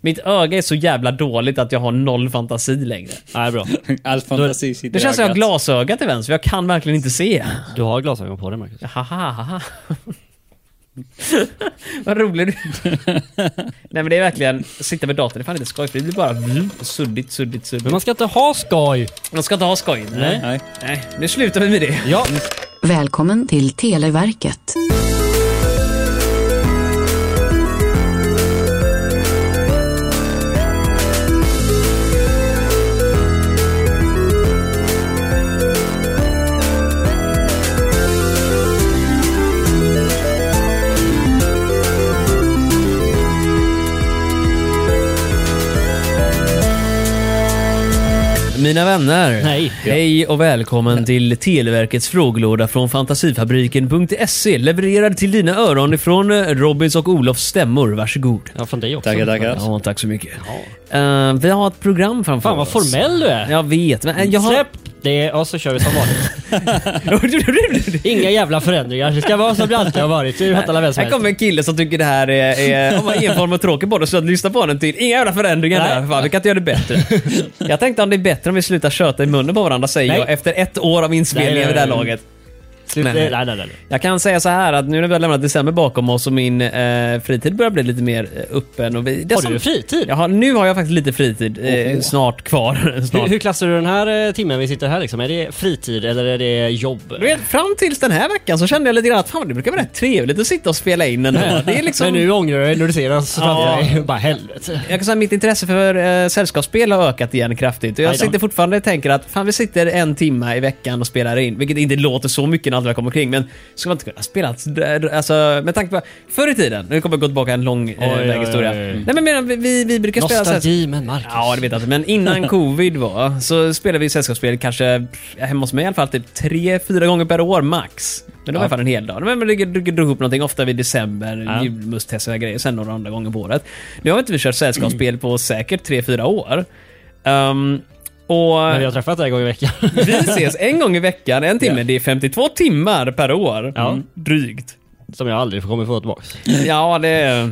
Mitt öga är så jävla dåligt att jag har noll fantasi längre. Nej, bra. All fantasi sitter Det i känns som jag har ögat. glasöga till vänster, för jag kan verkligen inte se. Du har glasögon på dig, Marcus. Hahaha. Vad rolig du Nej men det är verkligen, sitta med datorn det är fan inte skoj för det blir bara suddigt, suddigt, Men suddigt. man ska inte ha skoj! Man ska inte ha skoj. Nej. Nej. Nej, nu slutar vi med det. Ja, Välkommen till Televerket. Mina vänner. Nej. Hej och välkommen till Televerkets frågelåda från fantasifabriken.se levererad till dina öron ifrån eh, Robins och Olofs stämmor. Varsågod. ja från dig också. Tackar, tackar. Ja, tack så mycket. Eh, vi har ett program framför Fan vad oss. formell du är! Jag vet, men eh, jag har... Släpp det och så kör vi som vanligt. Inga jävla förändringar. Det ska vara som det alltid har varit. Det fattar alla vem som Här helst. kommer en kille som tycker det här är, är om man enformig och tråkig bara så att lyssna på den till. Inga jävla förändringar Nej. där, för fan, vi kan inte göra det bättre. Jag tänkte om det är bättre om vi slutar köta i munnen på varandra säger Nej. jag efter ett år av inspelning Nej, nej, vid det här nej. laget. Slut- Nej, Nej, nej. nej, nej. nej. Jag kan säga så här att nu när vi har lämnat december bakom oss och min eh, fritid börjar bli lite mer eh, öppen. Och vi, det Har som- du fritid? Jag har, nu har jag faktiskt lite fritid eh, snart kvar. Hur, snart. hur klassar du den här eh, timmen vi sitter här liksom? Är det fritid eller är det jobb? Du vet, fram tills den här veckan så kände jag lite grann att fan, det brukar vara rätt trevligt att sitta och spela in ändå. Det är liksom... Men nu ångrar jag dig när du ser oss Ja. framför dig. Bara helvete. Jag kan säga att mitt intresse för eh, sällskapsspel har ökat igen kraftigt. Och jag Aj då. sitter fortfarande och tänker att fan, vi sitter en timme i veckan och spelar in. Vilket inte låter så mycket när allt väl kommer omkring. Men ska man inte kunna spela... Alltså, med tanke på... Förr i tiden, nu kommer jag gå tillbaka en lång eh, Oj, väg oj, historia. oj. Nej men medan vi, vi, vi brukar spela... så här- Nostalgi med Marcus. Ja, det vet jag inte. Men innan covid var så spelade vi sällskapsspel kanske hemma hos mig i alla fall typ tre, fyra gånger per år max. Men det var i alla fall en hel dag. Men vi drog- drog drog ihop någonting ofta vid december, Ja. julmusttest och grejer, sen några andra gånger på året. Nu har inte vi kört sällskapsspel på säkert tre, fyra år. Ehm, och Men vi har träffat dig en gång i veckan. vi ses en gång i veckan, en timme. Det är 52 timmar per år. Ja. Mm, Drygt. Som jag aldrig kommer få tillbaks. Ja, det...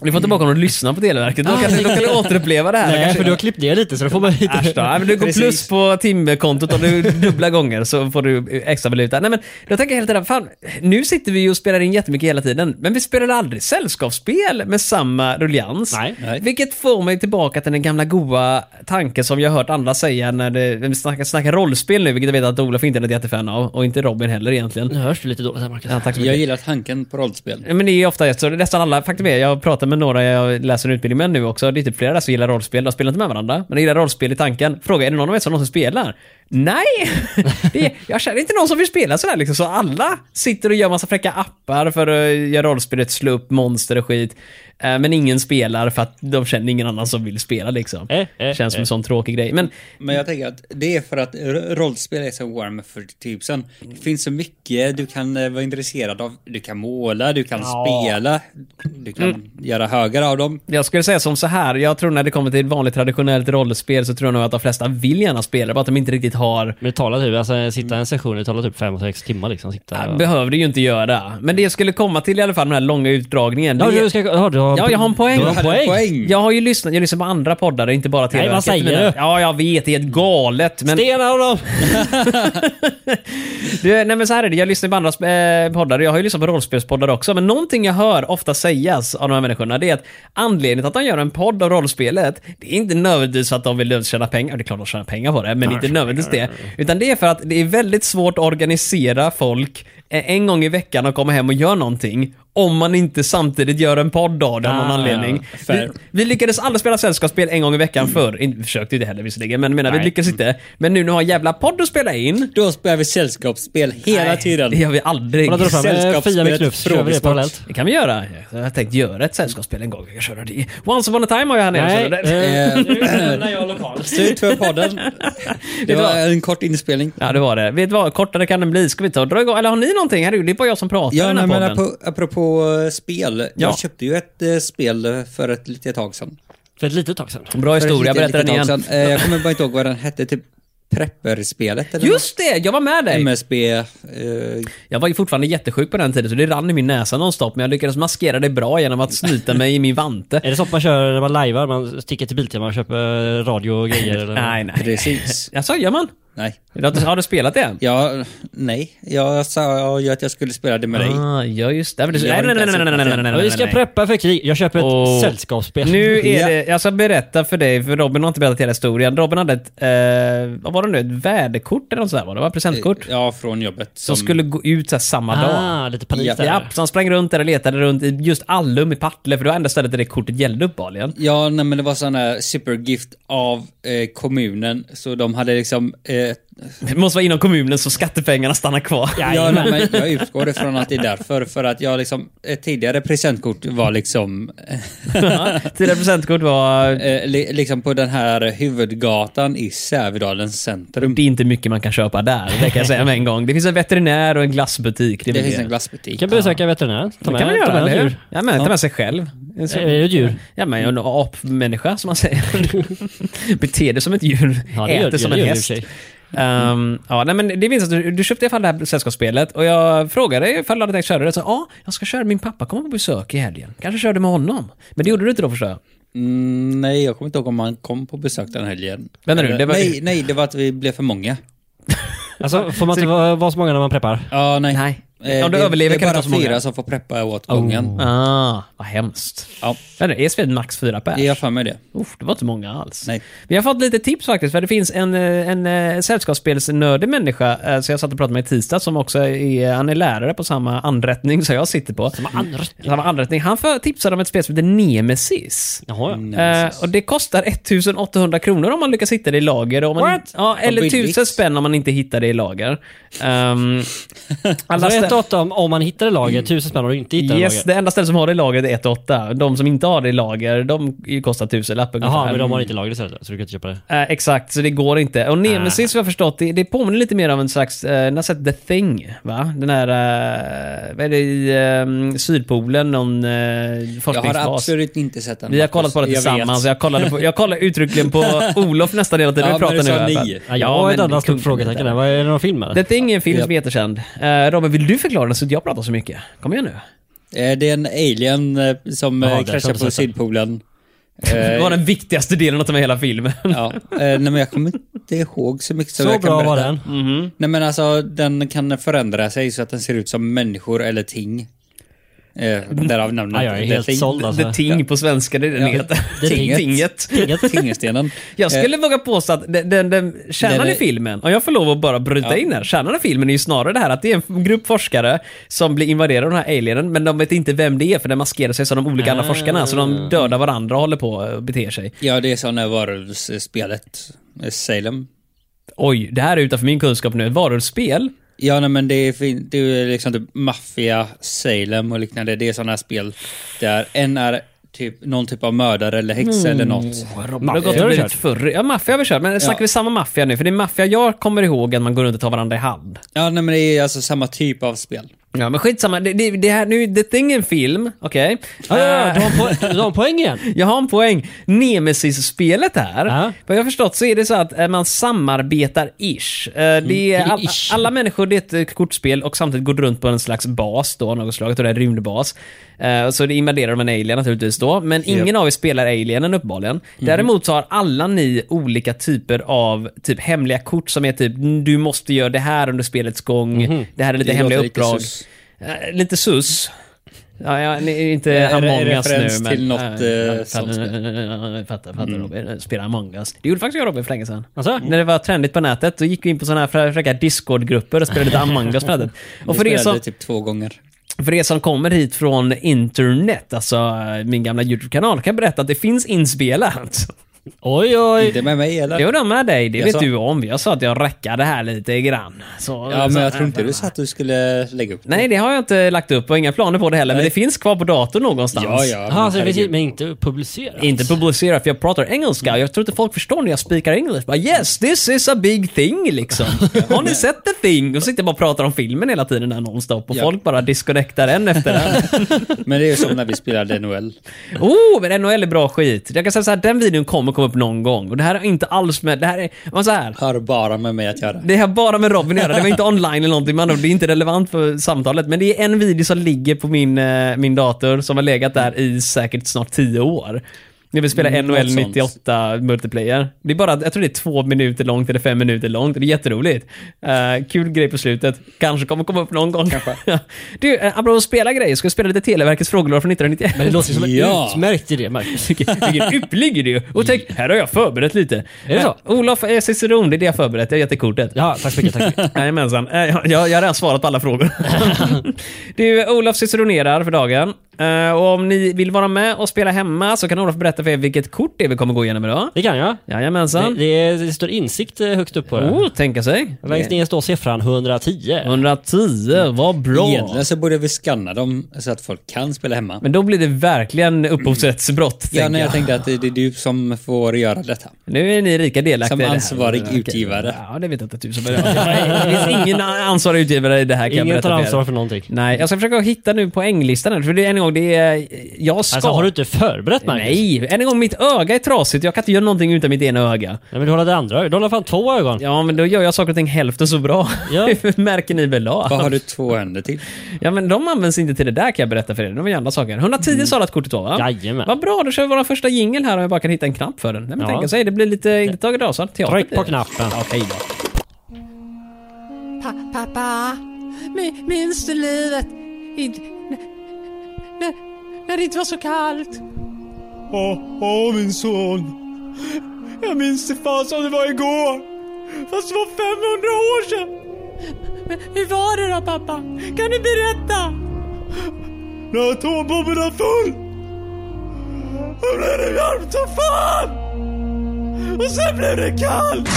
Ni får tillbaka honom och lyssna på Televerket. Då kan ni då kan ni återuppleva det här. Nej, Kanske- för du har klippt ner lite så då får man inte... Äsch då. Nej, men du går Precis. plus på timmerkontot om du dubbla gånger så får du extra valuta. Nej men då tänker jag hela tiden, fan, nu sitter vi ju och spelar in jättemycket hela tiden, men vi spelar aldrig sällskapsspel med samma ruljans. Nej. Nej. Vilket får mig tillbaka till den gamla goa tanken som jag har hört andra säga när, det, när vi snackar, snackar rollspel nu, vilket jag vet att Olof inte är ett jättefan av, och inte Robin heller egentligen. Nu hörs du lite dåligt här Marcus. Ja, tack så mycket. Jag gillar tanken på rollspel. Ja, Men det är ofta så, nästan alla, faktum är, jag pratar med några jag läser en utbildning med nu också, det är typ flera där som gillar rollspel, de spelar inte med varandra, men de gillar rollspel i tanken. Fråga, är det någon av er som någonsin spelar? Nej! Det är, jag känner inte någon som vill spela sådär liksom, så alla sitter och gör massa fräcka appar för att göra rollspelet, slå upp monster och skit. Eh, Men ingen spelar för att de känner ingen annan som vill spela liksom. Eh, eh, Känns som en sån tråkig grej. Men Men jag tänker att det är för att r- rollspel är så warm för tusen. Det finns så mycket du kan eh, vara intresserad av. Du kan måla, du kan spela, du kan Mm. göra högar av dem. Jag skulle säga som så här, jag tror när det kommer till ett vanligt traditionellt rollspel så tror jag nog att de flesta vill gärna spela, bara att de inte riktigt har Men det talar typ, alltså sitta en session, det talar typ fem och sex timmar liksom. Sitta Ja, behövde ju inte göra. Men det jag skulle komma till i alla fall, den här långa utdragningen. Ja, det, du ska, ja, du har, Ja, jag har en poäng. Du Jag har en hade en poäng. poäng. Jag har ju lyssnat, jag lyssnar på andra poddar, inte bara till Nej, vad säger du? Ja, jag vet, det är helt galet. Men, Stena honom! du, nej, men så här är det, jag lyssnar på andra eh, poddar och jag har ju lyssnat på rollspelspoddar också. Men någonting jag hör ofta sägas av de här människorna, det är att anledningen till att de gör en podd av rollspelet, det är inte nödvändigtvis för att de vill tjäna pengar. Det är klart de tjänar pengar på det, men inte nödvändigtvis det. Utan det är för att det är väldigt svårt att organisera folk eh, en gång i veckan och komma hem och göra någonting. Om man inte samtidigt gör en podd av det av någon Ah, anledning. Vi, fair. vi lyckades aldrig spela sällskapsspel en gång i veckan förr. In- Vi försökte ju det heller visserligen, men jag menar, vi Nej. lyckades inte. Men nu när vi har en jävla podd att spela in, Då spelar vi sällskapsspel hela Nej, tiden. Det gör vi aldrig. Kolla, dra fram eh, Sällskapsspelet Fia med knuffs, kör vi det frågesport. parallellt? Det kan vi göra. Jag har tänkt göra ett sällskapsspel en gång. Jag kan köra det. Once upon a time har jag här nere. Nej, så det- eh, Eh, lämnar jag lokalen. Slut för podden. Det var en kort inspelning. Ja, det var det. Vet du vad? Kortare kan den bli. Ska vi ta och dra igång? Eller har ni någonting? Herregud, det är bara jag som pratar i Ja, den här nej, men podden. apropå, apropå eh, spel. Ja. Jag köpte ju ett eh, spel för ett litet tag sedan. För ett litet tag sedan. Bra För ett historia. litet, Berätta den litet tag igen. sedan. Eh, Jag kommer bara inte ihåg vad den hette. Typ prepper-spelet. eller Just det, jag var med något? dig! MSB. Eh, Jag var ju fortfarande jättesjuk på den tiden så det rann i min näsa nonstop men jag lyckades maskera det bra genom att snyta mig i min vante. Är det sånt man kör när man lajvar? Man sticker till Biltema och köper eh, radio och grejer? Eller? Nej, nej. precis. Jaså, gör man? Nej. Har du- Har du spelat det? Ja, nej. Jag sa ju att jag skulle spela det med dig. Ah, ja, just det. Men det Jag nej, har nej, nej, inte ens nej, nej, nej, nej, nej, Ja, nej. vi ska preppa för krig. Jag köper ett Åh. sällskapsspel. Nu är Ja. det, jag ska berätta för dig, för Robin har inte berättat hela historien. Robin hade ett, eh, vad var det nu, ett värdekort eller något sånt där var det? Va? Presentkort? Eh, Ja, från jobbet. Som skulle gå ut så här samma dag. Ah, lite panik Ja. där. Ja, så han sprang runt där och letade runt i just Allum i Partille, för det var enda stället där det kortet gällde uppenbarligen. Ja, nej, men det var sån här supergift av eh, kommunen. Så de hade liksom... Eh, Det måste vara inom kommunen så skattepengarna stannar kvar. ja, nej, men jag utgår ifrån att det är därför. För att jag liksom... Ett tidigare presentkort var liksom... Tidigare presentkort var... Eh, li, liksom på den här huvudgatan i Sävedalens centrum. Det är inte mycket man kan köpa där, det kan jag säga med en gång. Det finns en veterinär och en glassbutik. Det, Det är väl finns en glassbutik. Vi kan besöka veterinären. Ta Det med, kan man ta göra, med eller hur? ett djur. Ja, men ta med sig själv. En sån- Är det ett djur? Ja, men jag är en apmänniska som man säger. Beter dig som ett djur, Ja, det gör- äter det som gör en det i och häst. för sig. Ehm, ja, nej, men det finns att du, du köpte i alla fall det här sällskapsspelet och jag frågade dig ifall du hade tänkt köra det. Så, ja, jag ska köra. Min pappa kommer på besök i helgen. Kanske kör du med honom. Men det gjorde du inte då förstår jag. Mm, nej, jag kommer inte ihåg om han kom på besök den helgen. Vänta nu, det var- nej, nej, det var att vi blev för många. Alltså, får man inte vara, vara så många när man preppar? Ja, nej. Eh, Nej. Om du det, överlever det kan är det bara ta så många. Oh. fyra som får preppa åt gången. Mm. Ah, vad hemskt. Ja, Men det är spelet max fyra pers? det är jag för mig det. Uff, det var inte många alls. Nej. Vi har fått lite tips faktiskt, för det finns en, eh, en, eh, sällskapsspelsnördig människa eh, som jag satt och pratade med i tisdag som också är, han är lärare på samma anrättning som jag sitter på. Samma anrättning? Samma anrättning. Han för, tipsade om ett spel som heter Nemesis. Jaha, ja. Eh, och det kostar 1800 kronor om man lyckas hitta det i lager. och Om man, What? ja, eller billigt. 1000 spänn om man inte hittar det i lager. Um, Alltså, ett åtta om, om man hittar det i laget, tusen spänn om du inte hittar Yes, det i laget. det enda stället som har det i lager är 1 8. De som inte har det i lager, de kostar tusenlappen. Jaha, ungefär. men de har inte lagret istället, så du kan inte köpa det. Eh, exakt, så det går inte. Och Ah. Nemesis, vad jag har förstått, det, det påminner lite mer om en slags, eh, ni har sett The Thing, va? Den här, eh, vad är det i eh, Sydpolen, någon eh, Jag har forskningsbas. absolut inte sett den. Vi har Marcus. kollat på det Jag vet. tillsammans. Jag, kollade på, jag kollar uttryckligen på Olof nästan hela tiden. Ja, Vi pratar men du nu. sa i alla fall. ni. Ja, jag har ett men annat kung- stort frågetecken där. Vad Är det någon film eller? The Thing är en film Ja. som är jättekänd. Eh, Robin, vill du förklara den så att jag pratar så mycket? Kom igen nu. Eh, Det är en alien eh, som Jaha, eh, det kraschar kändes på rätt. Sydpolen. Det var den viktigaste delen av hela filmen. Eh. Ja, eh, nej, men jag kommer inte ihåg så mycket som Så jag kan bra var berätta. den. Nej men alltså den kan förändra sig så att den ser ut som människor eller ting. Eh, därav namnet. Ja, jag The är helt Thing. såld alltså. The Thing på svenska, det är den Ja. heter. The Tinget. Tinget. Tinget. Tingestenen. Jag Eh. skulle våga påstå att den, den, den, kärnan Den är- i filmen, om jag får lov att bara bryta in här, kärnan i filmen är ju snarare det här att det är en grupp forskare som blir invaderade av den här alienen, men de vet inte vem det är för den maskerar sig som de olika andra forskarna, så Ah. de dödar varandra och håller på och beter sig. Eh, Ja, det är sådana varulvsspelet. Eh, Salem. Oj, det här är utanför min kunskap nu. Ett varulvsspel? Ja, nej, men det är, fin- det är liksom typ maffia, Salem och liknande. Det är sådana spel där en är typ någon typ av mördare eller häxa eller något. Det har gått har och du blivit kört. förr. Ja, maffia har vi kört, men snackar vi samma maffia nu? För det är maffia jag kommer ihåg att man går runt och tar varandra i hand. Ja, nej, men det är alltså samma typ av spel. Ja, men skitsamma. Det, det, det här nu, The Thing är en film, okej? Ja, ja, Eh, ja, du har en poäng, du har en poäng igen. Jag har en poäng. Nemesis-spelet här, Ja. vad jag har förstått så är det så att eh, man samarbetar-ish. Mm. Eh, Det är all, Ish. alla människor, det är ett eh, kortspel och samtidigt går du runt på en slags bas då, av något slag, och det är en rymdbas. Eh, Så det invaderar de en alien naturligtvis då, men ingen av er spelar alienen uppenbarligen. Mhm. Däremot så har alla ni olika typer av typ hemliga kort som är typ "Mm, du måste göra det här under spelets gång, det här är lite Mhm. Det hemliga låter lite uppdrag. sus. Eh, Lite sus. Ja, ja, ni är inte Är det Among us Eh, referens nu, men... till något, Ja, eh, Mm. ja, sånt fattar, fattar, fattar Robin. eh, Spela Among us. Det gjorde faktiskt jag Robin för länge sedan. Mm. Alltså? När det var trendigt på nätet, då gick vi in på såna här frä- fräcka Discord-grupper och spelade lite Among us på nätet. Och för Jag er, spelade som, det typ två gånger. för er som kommer hit från internet, alltså eh, min gamla YouTube-kanal, kan jag berätta att det finns inspelat. Oj, oj. Inte med mig eller? Jo då med dig, det vet Jaså? du om. Jag sa att jag räckade här lite grann. Så, Ja, så- men jag tror inte du sa att du skulle lägga upp det. Nej, det har jag inte lagt upp och inga planer på det heller, men det finns kvar på datorn någonstans. Ja, ja. Jaha, så det finns herregud. men inte publicerat? Inte publicera för jag pratar engelska. Jag tror inte folk förstår när jag speakar engelska. Bara, yes, this is a big thing liksom. Har ni sett the thing? Och sitter jag bara och pratar om filmen hela tiden där nonstop och Ja. folk bara disconnectar en efter en. Men det är ju som när vi spelade NHL. oh, men NHL är bra skit. Jag kan säga så här, den videon kommer kommer komma upp någon gång. Och det här är inte alls med... Det här är... Man så här, Har bara med mig att göra. det har bara med Robin att göra. Det var inte online eller någonting. Man, det är inte relevant för samtalet. Men det är en video som ligger på min, eh, min dator som har legat där i säkert snart 10 år. När vi spelar Mm, NHL något sånt. 98 multiplayer. Det är bara, jag tror det är två minuter långt eller fem minuter långt. Det är jätteroligt. Eh, kul grej på slutet. Kanske kommer komma upp någon gång. du, uh, apropå att spela grejer, ska vi spela lite Televerkets frågelåda från 1991? Men det låter ju som en Ja. utmärkt idé, Marcus. Vilken ypperlig idé! Och tänk, här har jag förberett lite. Är det så? Eh, Olof eh, Ciceron, det är det jag förberett. Jag har gett dig kortet. Ja, tack så mycket. Tack så mycket. Jajamensan. Eh, Jag, jag har redan svarat på alla frågor. du, Olof ciceronerar för dagen. Eh, Och om ni vill vara med och spela hemma så kan Olof berätta för er vilket kort det är vi kommer gå igenom idag. Det kan jag. Det, Jajamensan. det, det står insikt eh, högt upp på det. Oh, tänka sig. Längst ner står siffran 110. 110, vad bra. Egentligen så borde vi scanna dem så att folk kan spela hemma. Men då blir det verkligen upphovsrättsbrott. ja, tänker nej, jag. jag tänkte att det är du som får göra detta. Nu är ni rika delaktiga Som i det här. ansvarig Okej. utgivare. Ja, det vet jag inte tusan vad jag gör. Det finns ingen ansvarig utgivare i det här kan jag Ingen berätta tar för er. ansvar för någonting. Nej, jag ska försöka hitta nu poänglistan här, för det är en gång det är... Jag ska... Alltså, har du inte förberett Marcus? Nej, än en gång mitt öga är trasigt. Jag kan inte göra någonting utan mitt ena öga. Nej, men du har det andra ögat. Du har fan två ögon. Ja, men då gör jag saker och ting hälften så bra. Ja. Det märker ni väl Vad av? har du två händer till? Ja, men de används inte till det där kan jag berätta för er. De är ju andra saker. 110 sa det att kortet var va? Mm. Jajamän. Vad bra, då kör vi vår första jingel här om jag bara kan hitta en knapp för den. Nej, men Ja. tänka sig, det blir lite inte Tage Danielsson. teater Tryck blir på det. knappen. Okej då. Pa pappa, mi- minns du livet? Inte, när, när det inte var så kallt? Åh, åh min son. Jag minns det fan som det var igår. Fast det var 500 år sedan. Men hur var det då pappa? Kan du berätta? När atombomben var full. Då blev det varmt som fan. Och sen blev det kallt.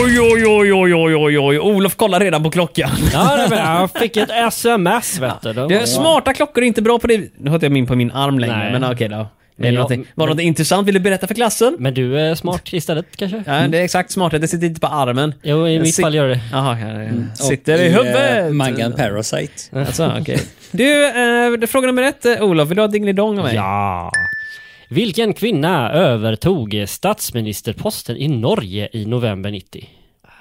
Oj, oj, oj, oj, oj, oj, oj. Olof kollar redan på klockan. Ja, nej, men jag fick ett sms vet du. Då- Det är smarta klockor är inte bra på det. Nu har inte jag min på min arm längre, Nej. men okej då. Det är Men jag- någonting. Var det något intressant? Vill du berätta för klassen? Men du är smart istället kanske? Ja, det är exakt smart. Det sitter inte på armen. Jo, i Jag mitt sit- fall gör det. Jaha, ja, ja. sitter i eh, huvudet. Mangan Parasite. Alltså, okej. Du, eh, det är fråga nummer ett, eh, Olof. Vill du ha dingelidong av mig? Ja. Vilken kvinna övertog statsministerposten i Norge i november 90?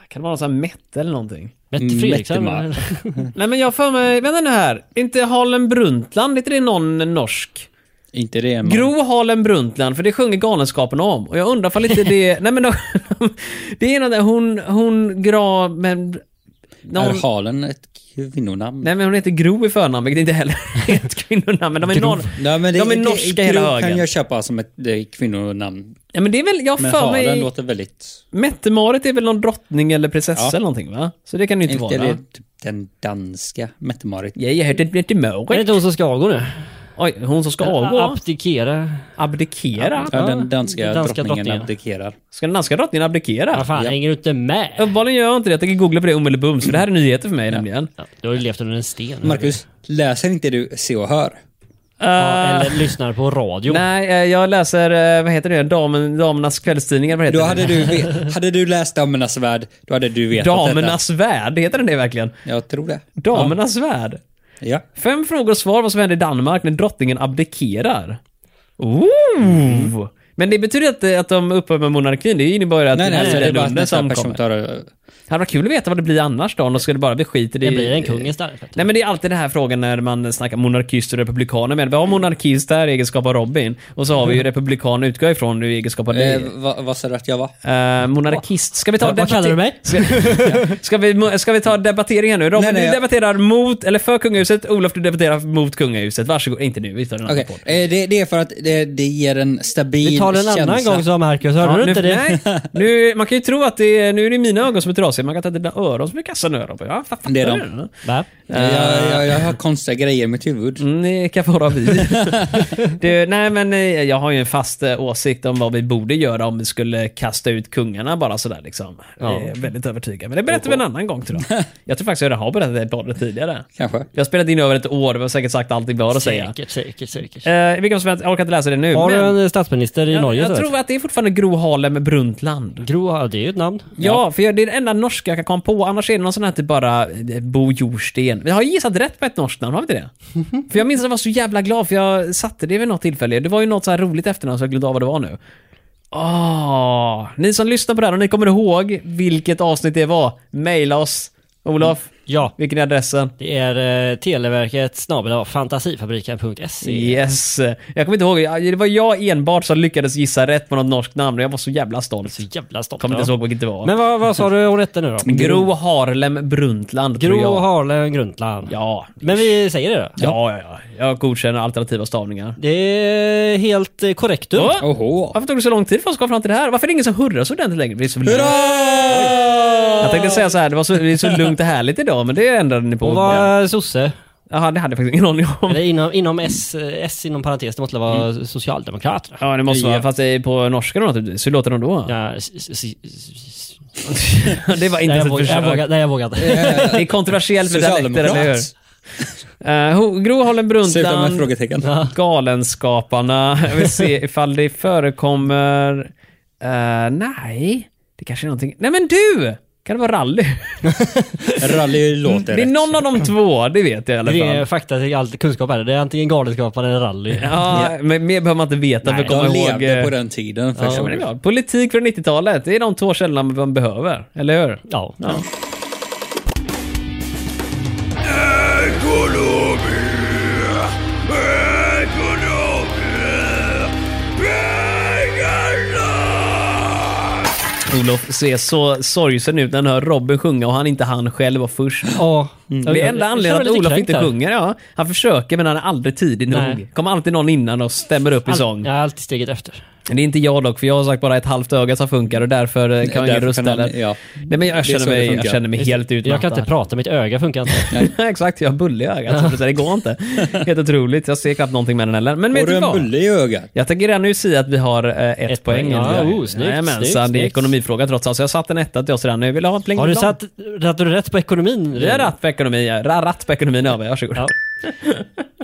Kan det vara någon sån här mätt eller någonting? Mette Fredriksson? Mette-Marit. Nej, men jag har för mig... Vänta nu här. Inte Harlem Brundtland? Är inte det någon norsk? Inte det. man. Gro Harlem Brundtland, för det sjunger Galenskapen om. Och jag undrar ifall inte det... Nej men... de- Det är någon där, hon... Hon gra... Men... Är Någon, Halen ett kvinnonamn? nej men hon heter Gro i förnamn, vilket inte heller är ett kvinnonamn. Men de är, norr, Nej, men det, de är det- norska Gro hela högen. kan jag köpa som ett eh, kvinnonamn. Ja men det är väl... Jag har Men för Halen mig... låter väldigt... Mette-Marit är väl någon drottning eller prinsessa Ja. eller någonting va? Så det kan det ju inte Inte vara. det, typ den danska Mette-Marit. Ja, jag hörde Är det Mette-Marit. inte hon som ska avgå nu? Oj, hon som ska avgå? Abdikera. Abdikera? Ja, den danska, danska drottningen, drottningen. abdikerar. Ska den danska drottningen Vad abdikera? fan, hänger du inte med? Uppenbarligen gör jag inte det. Jag tänker googla på det omedelbums, för det här är nyheter för mig nämligen. Ja, du har ju levt under en sten. Marcus, läser inte du Se och Hör? Ja, eller lyssnar på radio. Nej, eh, jag läser, eh, vad heter det, Damen, Damernas kvällstidningar, vad heter Då det? hade du, ve- hade du läst Damernas Värld, då hade du vetat Damernas värld, heter den det verkligen? detta. Jag tror det. Damernas värld. Ja. Fem frågor och svar vad som händer i Danmark när drottningen abdikerar. Ooh. Men det betyder inte att de upphör med monarkin, det innebär ju att Nej, nej, den nej, det är bara att dunder nästa som person kommer. tar... eh, Det hade varit kul att veta vad det blir annars då, om de skulle bara bli skit i det. Det blir en kung istället. Nej men det är alltid den här frågan när man snackar monarkister och republikaner med. Vi har monarkist där i egenskap av Robin och så har vi ju republikan utgår jag ifrån i egenskap av dig. Eh, vad, vad sa du att jag var? Eh, monarkist. Ska vi ta Vad- vad debatter- kallar du mig? Ska, ska, vi, ska vi ta debatteringen nu? Robin, Nej, nej, du jag- debatterar mot, eller för kungahuset. Olof, du debatterar mot kungahuset. Varsågod. Inte nu, vi tar en annan Okej, podd. eh, det, det är för att det, det ger en stabil Vi tar en annan känsla. gång sa Marcus, hörde Ja, du nu, inte det? Nej, nu, man kan ju tro att det är, nu är det mina ögon som är trasiga. Man kan ta dina öron som är kassa nu, Robin. Ja, fa- fattar Det är de. du? Va? Eh, Jag, jag, jag har konstiga grejer i mitt huvud. Mm, det kan vara vi. du, nej, men eh, jag har ju en fast eh, åsikt om vad vi borde göra om vi skulle kasta ut kungarna bara sådär. Liksom. Ja. Jag är väldigt övertygad. Men det berättar vi en annan gång tror jag. Jag tror faktiskt jag redan har berättat det i podden tidigare. Kanske. Jag har spelat in över ett år, vi har säkert sagt allting vi har att säga. Säkert, säkert, säkert. Eh, I vilken som helst, jag orkar inte läsa det nu. Har men du en statsminister i Norge? jag så tror vet att det är fortfarande Gro Harlem Brundtland. du? Gro, ja, det är ju ett namn. Ja, för jag, det är den enda norska jag kan komma på. Annars är det någon sån här typ bara eh, Bo Jorsten. Vi har gissat rätt på ett norskt namn, har vi inte det? för jag minns att jag var så jävla glad för jag satte det vid något tillfälle. Det var ju något så här roligt efternamn så jag glömde av vad det var nu. Åh, ni som lyssnar på det här och ni kommer ihåg vilket avsnitt det var, mejla oss. Olof, Ja, vilken är adressen? det är eh, Televerket snabel fantasifabriken.se. Yes. Jag kommer inte ihåg, det var jag enbart som lyckades gissa rätt på något norskt namn och jag var så jävla stolt. Så jävla stolt. Kommer ja. inte ens ihåg vilket det var. Men vad, vad sa du hon hette nu då? Gro Harlem Brundtland tror Gro jag. Harlem Grundtland. ja. Men vi säger det då. Ja, ja, ja. Jag godkänner alternativa stavningar. Det är helt eh, korrekt du. Åh! Oho. Varför tog det så lång tid för oss att komma fram till det här? Varför är det ingen som hurrar så ordentligt längre? Det är så Hurra! Jag tänkte säga så här, det var så, det är så lugnt och härligt idag, men det ändrade ni på. Hon var eh, sosse. Jaha, det hade jag faktiskt ingen aning om. Eller inom, inom S, eh, S inom parentes, det måste vara Socialdemokraterna. Mm. Ja, det måste vara. Fast det är på norska då naturligtvis. Hur låter de då? Ja, s- s- s- s- Det var inte nej, jag ens ett vågar, jag försök. vågar, nej, jag vågar inte. Det är kontroversiellt med dialekter, eller hur? Eh, Socialdemokrat. Uh, Gro Harlem Sluta med Brundtland, frågetecken. Galenskaparna. Jag vill se ifall det förekommer... Eh, nej, det kanske är någonting... Nej men du! Kan det vara rally? Rally Det låter är rätt. någon av de två, det vet jag i alla Det är fall. fakta till all kunskap här. Det är antingen Galenskaparna eller rally. Ja, men mer behöver man inte veta för Nej, att komma de ihåg... levde eh, på den ja, tiden men det är faktiskt. bra. Politik från 90-talet, det är de två källorna man behöver, eller hur? Ja. Ekonomi! Ekonomi! Pengarna! Olof ser så sorgsen ut när han hör Robin sjunga och han inte han själv var först. Ja. Mm. Det är enda anledningen att Olof inte sjunger. sjunger, ja. Han försöker men han är aldrig tidig Nej. nog. Kommer alltid någon innan och stämmer upp i sång. All, ja, alltid steget efter. Men Det är inte jag dock, för jag har sagt bara ett halvt öga som funkar och därför eh, kan jag ingen Därför röst kan han- heller. ja. Nej men jag är känner så det mig, jag funkar. känner mig helt utmattad. Jag kan inte prata, mitt öga funkar inte. Exakt, jag har bulle i ögat. så Det går inte. Helt otroligt. Jag ser knappt någonting med den heller. Men Har vet du du en vad? bulle i ögat? Jag tänker redan nu säga att vi har eh, ett, Ett poäng. poäng, ja. i det här. Oh, snyggt, Jajamensan, snyggt, det är snyggt. ekonomifråga trots allt. Så jag satt en etta till oss redan nu. Vill du ha en pling Har du plong? satt, hade du rätt på ekonomin? Vi har ratt på ekonomi. ja. Ra- Ratt på ekonomin över. Varsågod. Ja.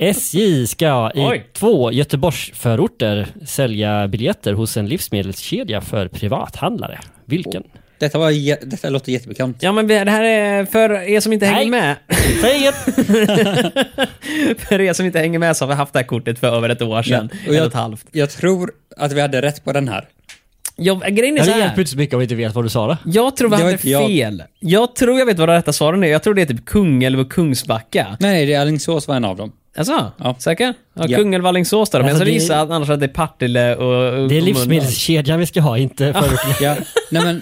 SJ ska i Oj. två Göteborgsförorter sälja biljetter hos en livsmedelskedja för privathandlare. Vilken? Detta, var, jä- detta låter jättebekant. Ja, men vi- det här är för er som inte hänger Nej. med. Säg inget! För er som inte hänger med så har vi haft det här kortet för över ett år sedan. och Ett jag- och ett halvt. Jag tror att vi hade rätt på den här. Jag, grejen är så Det hjälper här. inte så mycket om vi inte vet vad du sa då. Jag tror vi Det var hade inte jag. fel. Jag tror jag vet vad de rätta svaren är. Jag tror det är typ Kungälv och Kungsbacka. Nej, det är Alingsås var en av dem. Alltså, Ja. Säker? Ja, Ja. Kungälv Alingsås där. Men jag Alltså, skulle det- gissa att annars att det är Partille och... och Det är och- livsmedelskedjan vi ska ha, inte förorten. Ja, nej men,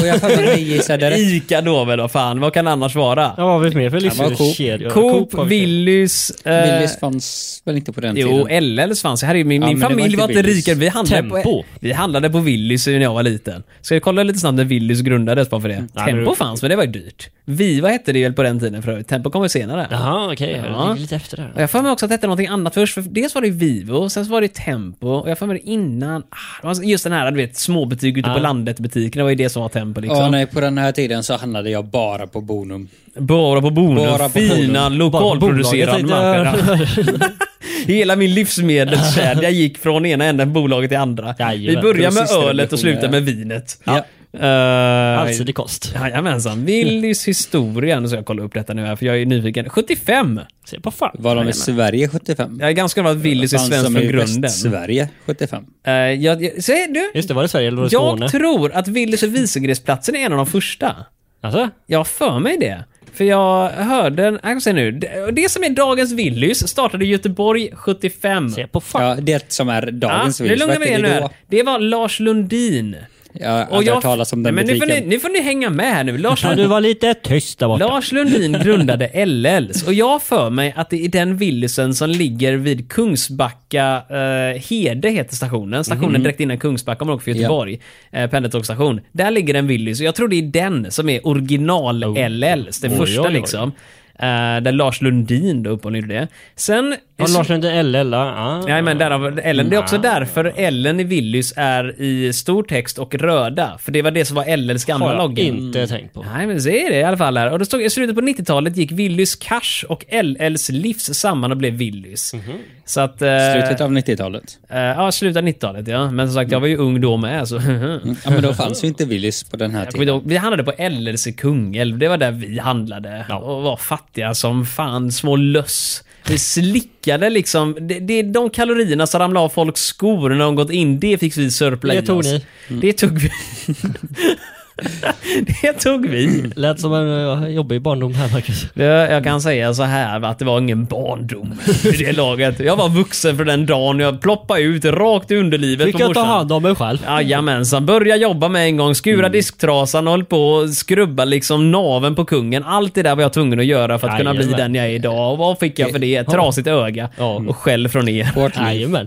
och jag fattar att ni gissade rätt. Ica då väl, vad fan. Vad kan det annars vara? Ja, vad har vi mer för var Coop. livsmedelskedjor? Coop, har vi fel. Willys... Eh, Willys fanns väl inte på den Jo, tiden? LLs fanns. Här är ju min, Ja, min men det var familj inte var inte Willys. rikare. Vi handlade, på, Tempo. vi handlade på Willys när jag var liten. Ska jag kolla lite snabbt när Willys grundades bara för Mm. det? Ja, Tempo men- fanns, men det var ju dyrt. Viva hette det väl på den tiden för övrigt. Tempo kommer senare. Jaha, okej. Okay. Ja. ligger lite efter Och där. jag får mig också att det hette någonting annat först. För dels var det ju Vivo, sen så var det ju Tempo och jag får mig det innan... Ah, det var just den här du vet, småbutik ute på Ja. landet butiken. Det var ju det som var Tempo liksom. Ja, nej, på den här tiden så handlade jag bara på Bonum. Bara på Bonum. Bara på Fina lokalproducerade bolaget, mackor. äh, Hela min livsmedelskedja gick från ena änden av bolaget till andra. Jajamän. Vi börjar med Grossisterna ölet och blir slutar sjuka. med vinet. Ja. Uh, Allsidig Alltså, kost. Jajamensan. Willys historia. Nu ska jag kolla upp detta nu här, för jag är nyfiken. 75! Se på fan. Var de i Sverige 75? Jag är ganska glad att Willys är Fanns svensk de från i grunden. Sverige 75. Eh, jag, jag, se, du, Just det, var det Sverige eller var det Skåne? jag tror att Willys och Wieselgrensplatsen är en av de första. Alltså? Jag har för mig det. För jag hörde, jag kan säga nu, det, det som är dagens Willys startade i Göteborg 75. Se på fan. Ja, det som är Ja, dagens Ah, nu Willys. lugnar vi Vad er nu. hette det här. då? Det var Lars Lundin. Jag har aldrig hört talas om den Nej, men nu får, butiken. ni, nu får ni hänga med här nu. Lars, Kan du vara lite tyst där borta? Lars Lundin grundade LLs och jag har för mig att det är den Willysen som ligger vid Kungsbacka, eh, Hede heter stationen, stationen Mhm. direkt innan Kungsbacka om man åker för Göteborg, eh, pendeltågsstation. Där ligger en Willys och jag tror det är den som är original LLs, den Oh. Oj, första oj, oj. liksom. Eh, där Lars Lundin då uppehåller det. Sen... Ja, Lars inte LL? Ah. Nej men därav Ellen. Det är också därför Ellen i Willys är i stor text och röda. För det var det som var LLs gamla har jag logga. inte tänkt på. Nej, men se det i alla fall här. Och det Mhm. stod, I slutet på 90-talet gick Willys Cash och LLs Livs samman och blev Willys. Så att... eh, Slutet av 90-talet. eh, ja, slutet av 90-talet ja. Men som sagt, jag var ju ung då med. Så. Ja, men då fanns ju inte Willys på den här Jag kommer inte tiden. ihåg. Vi handlade på LLC Kungälv. Det var där vi handlade och var fattiga som fan, små löss. Vi slickade liksom. Det, det, de kalorierna som ramlade av folks skor när de gått in, det fick vi sörpla Det i tog oss. ni. Det tog vi. det tog vi. Lät som en eh, jobbig barndom här Marcus. Det, jag kan säga så här att det var ingen barndom i det laget. Jag var vuxen för den dagen jag ploppade ut rakt i underlivet Fick på jag ta morsan. hand Mm. om mig själv? Jajamensan, börja jobba med en gång, skura disktrasan, håll på och skrubba liksom naven på kungen. Allt det där var jag tvungen att göra för att kunna bli Jajamän. den jag är idag. Och vad fick jag för det? Ett trasigt öga och skäll från er. Hårt liv. Jajamän.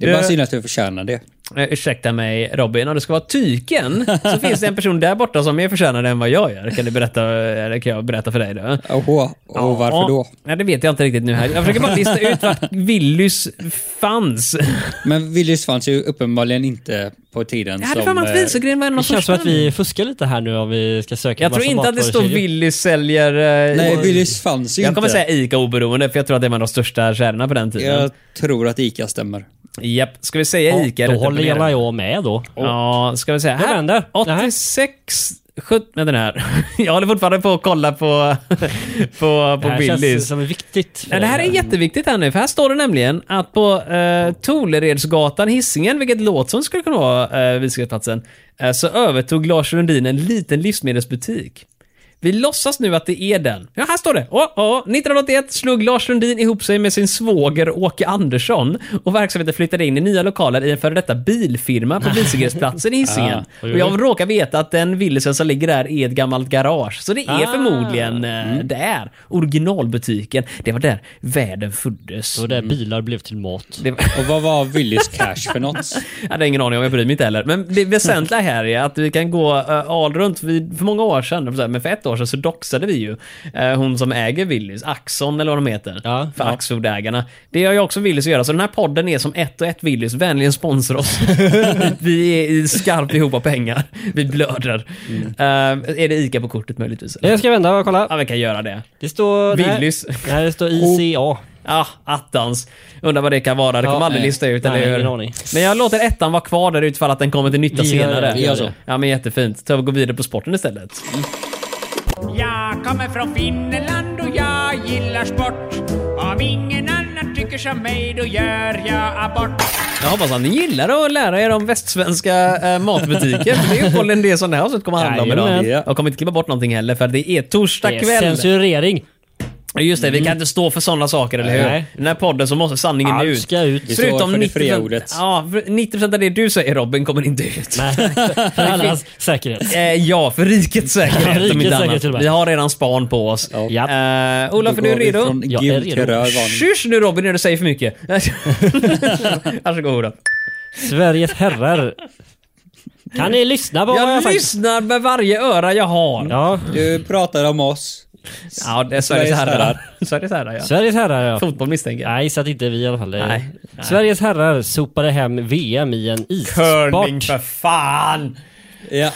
Det är bara synd att du förtjänar det. Eh, Ursäkta mig Robin, om du ska vara tyken så finns det en person där borta som är förtjänad än vad jag är. Kan, du berätta, eller kan jag berätta för dig då? Åhå, och varför då? Ja, det vet jag inte riktigt nu här. Jag försöker bara lista ut vart Willys fanns. Men Willys fanns ju uppenbarligen inte på tiden Jag som... hade för mig att eh, Frisögren var en av Det de känns som första. att vi fuskar lite här nu om vi ska söka Jag tror inte att det står Willys säljer... eh, Nej, i- Willys fanns ju Jag inte. kommer säga ICA oberoende för jag tror att det var de största affärerna på den tiden. Jag tror att ICA stämmer. Japp, ska vi säga ICA? Ica. rätt Då upp och håller ner? gärna jag med då. Ja, ska vi säga. Det vänder. 86... 70, vänta nu här. Jag håller fortfarande på att kolla på, på, Det på här känns Willys. som viktigt. eh, Ja, det här är jätteviktigt här nu, för här står det nämligen att på eh, Toleredsgatan, Hisingen, vilket låt som skulle kunna vara eh, Viskareplatsen, eh, så övertog Lars Lundin en liten livsmedelsbutik. Vi låtsas nu att det är den. Ja, här står det. Åh, åh. 1981 slog Lars Lundin ihop sig med sin svåger Åke Andersson och verksamheten flyttade in i nya lokaler i en före detta bilfirma på Visegreplatsen i Hisingen. Ah. Och jag råkar veta att den villesen som ligger där är ett gammalt garage. Så det är Ah. Mm. förmodligen eh, där. Originalbutiken. Det var där världen föddes. Så där bilar blev till mat. Det var, Och vad var Willys cash för något? jag hade ingen aning om, jag bryr mig inte heller. Men det väsentliga här är att vi kan gå uh, all runt. Vi, för många år sedan, men för ett år sedan så doxade vi ju eh, hon som äger Willys, Axon eller vad de heter. Ja, för ja. Axfood-ägarna. Det har ju också Willys att göra, så den här podden är som ett och ett Willys. Vänligen sponsra oss. vi är i skarpt behov av pengar. Vi blöder. Mm. Eh, är det ICA på kortet möjligtvis? Eller? Jag ska vända och Ja, kolla. vi kan göra det. Det står... nej. Mm. Willys. Oh, Nej, det står ICA. Ja, attans. Undrar vad det kan vara. Det Ja, kommer aldrig nej. lista ut, Nej, eller ingen hur? aning. Men jag låter ettan vara kvar där utfall att den kommer till nytta Vi gör det, senare. vi gör det. Ja, men jättefint. Så vi går vidare på sporten istället. Jag kommer från Finland och jag gillar sport. Om ingen annan tycker som mig då gör jag abort. Jag hoppas att ni gillar att lära er om västsvenska eh, matbutiker. för det är uppenbarligen det som det här avsnittet kommer att handla om idag. Jajamän. Jag kommer inte klippa bort någonting heller, för det är torsdag Det är kväll. Censurering. Just det, vi kan inte stå för sådana saker, eller hur? Nej. I den här podden så måste sanningen Allt ut. ska ut. Vi står för det 90%, fria ordet. Ja, för 90% av det du säger Robin kommer inte ut. För allas säkerhet. Eh, ja, för rikets Ja, säkerhet rikets om inte säkerhet annat. till och med. Vi har redan span på oss. Japp. Eh, Olof, är Då du går vi redo? Från Jag är gult redo. till röd varning. Tjus nu Robin när du säger för mycket. Varsågoda. Sveriges herrar. Kan ni lyssna på vad jag har Jag sagt? lyssnar med varje öra jag har. Ja, Du pratar om oss. Ja, det är Sveriges Sveriges herrar. herrar. Sveriges herrar, ja. Sveriges herrar ja. Fotboll misstänker jag. Nej, så att inte vi i alla fall. Nej. Sveriges herrar sopade hem VM i en Curling för issport fan! Ja,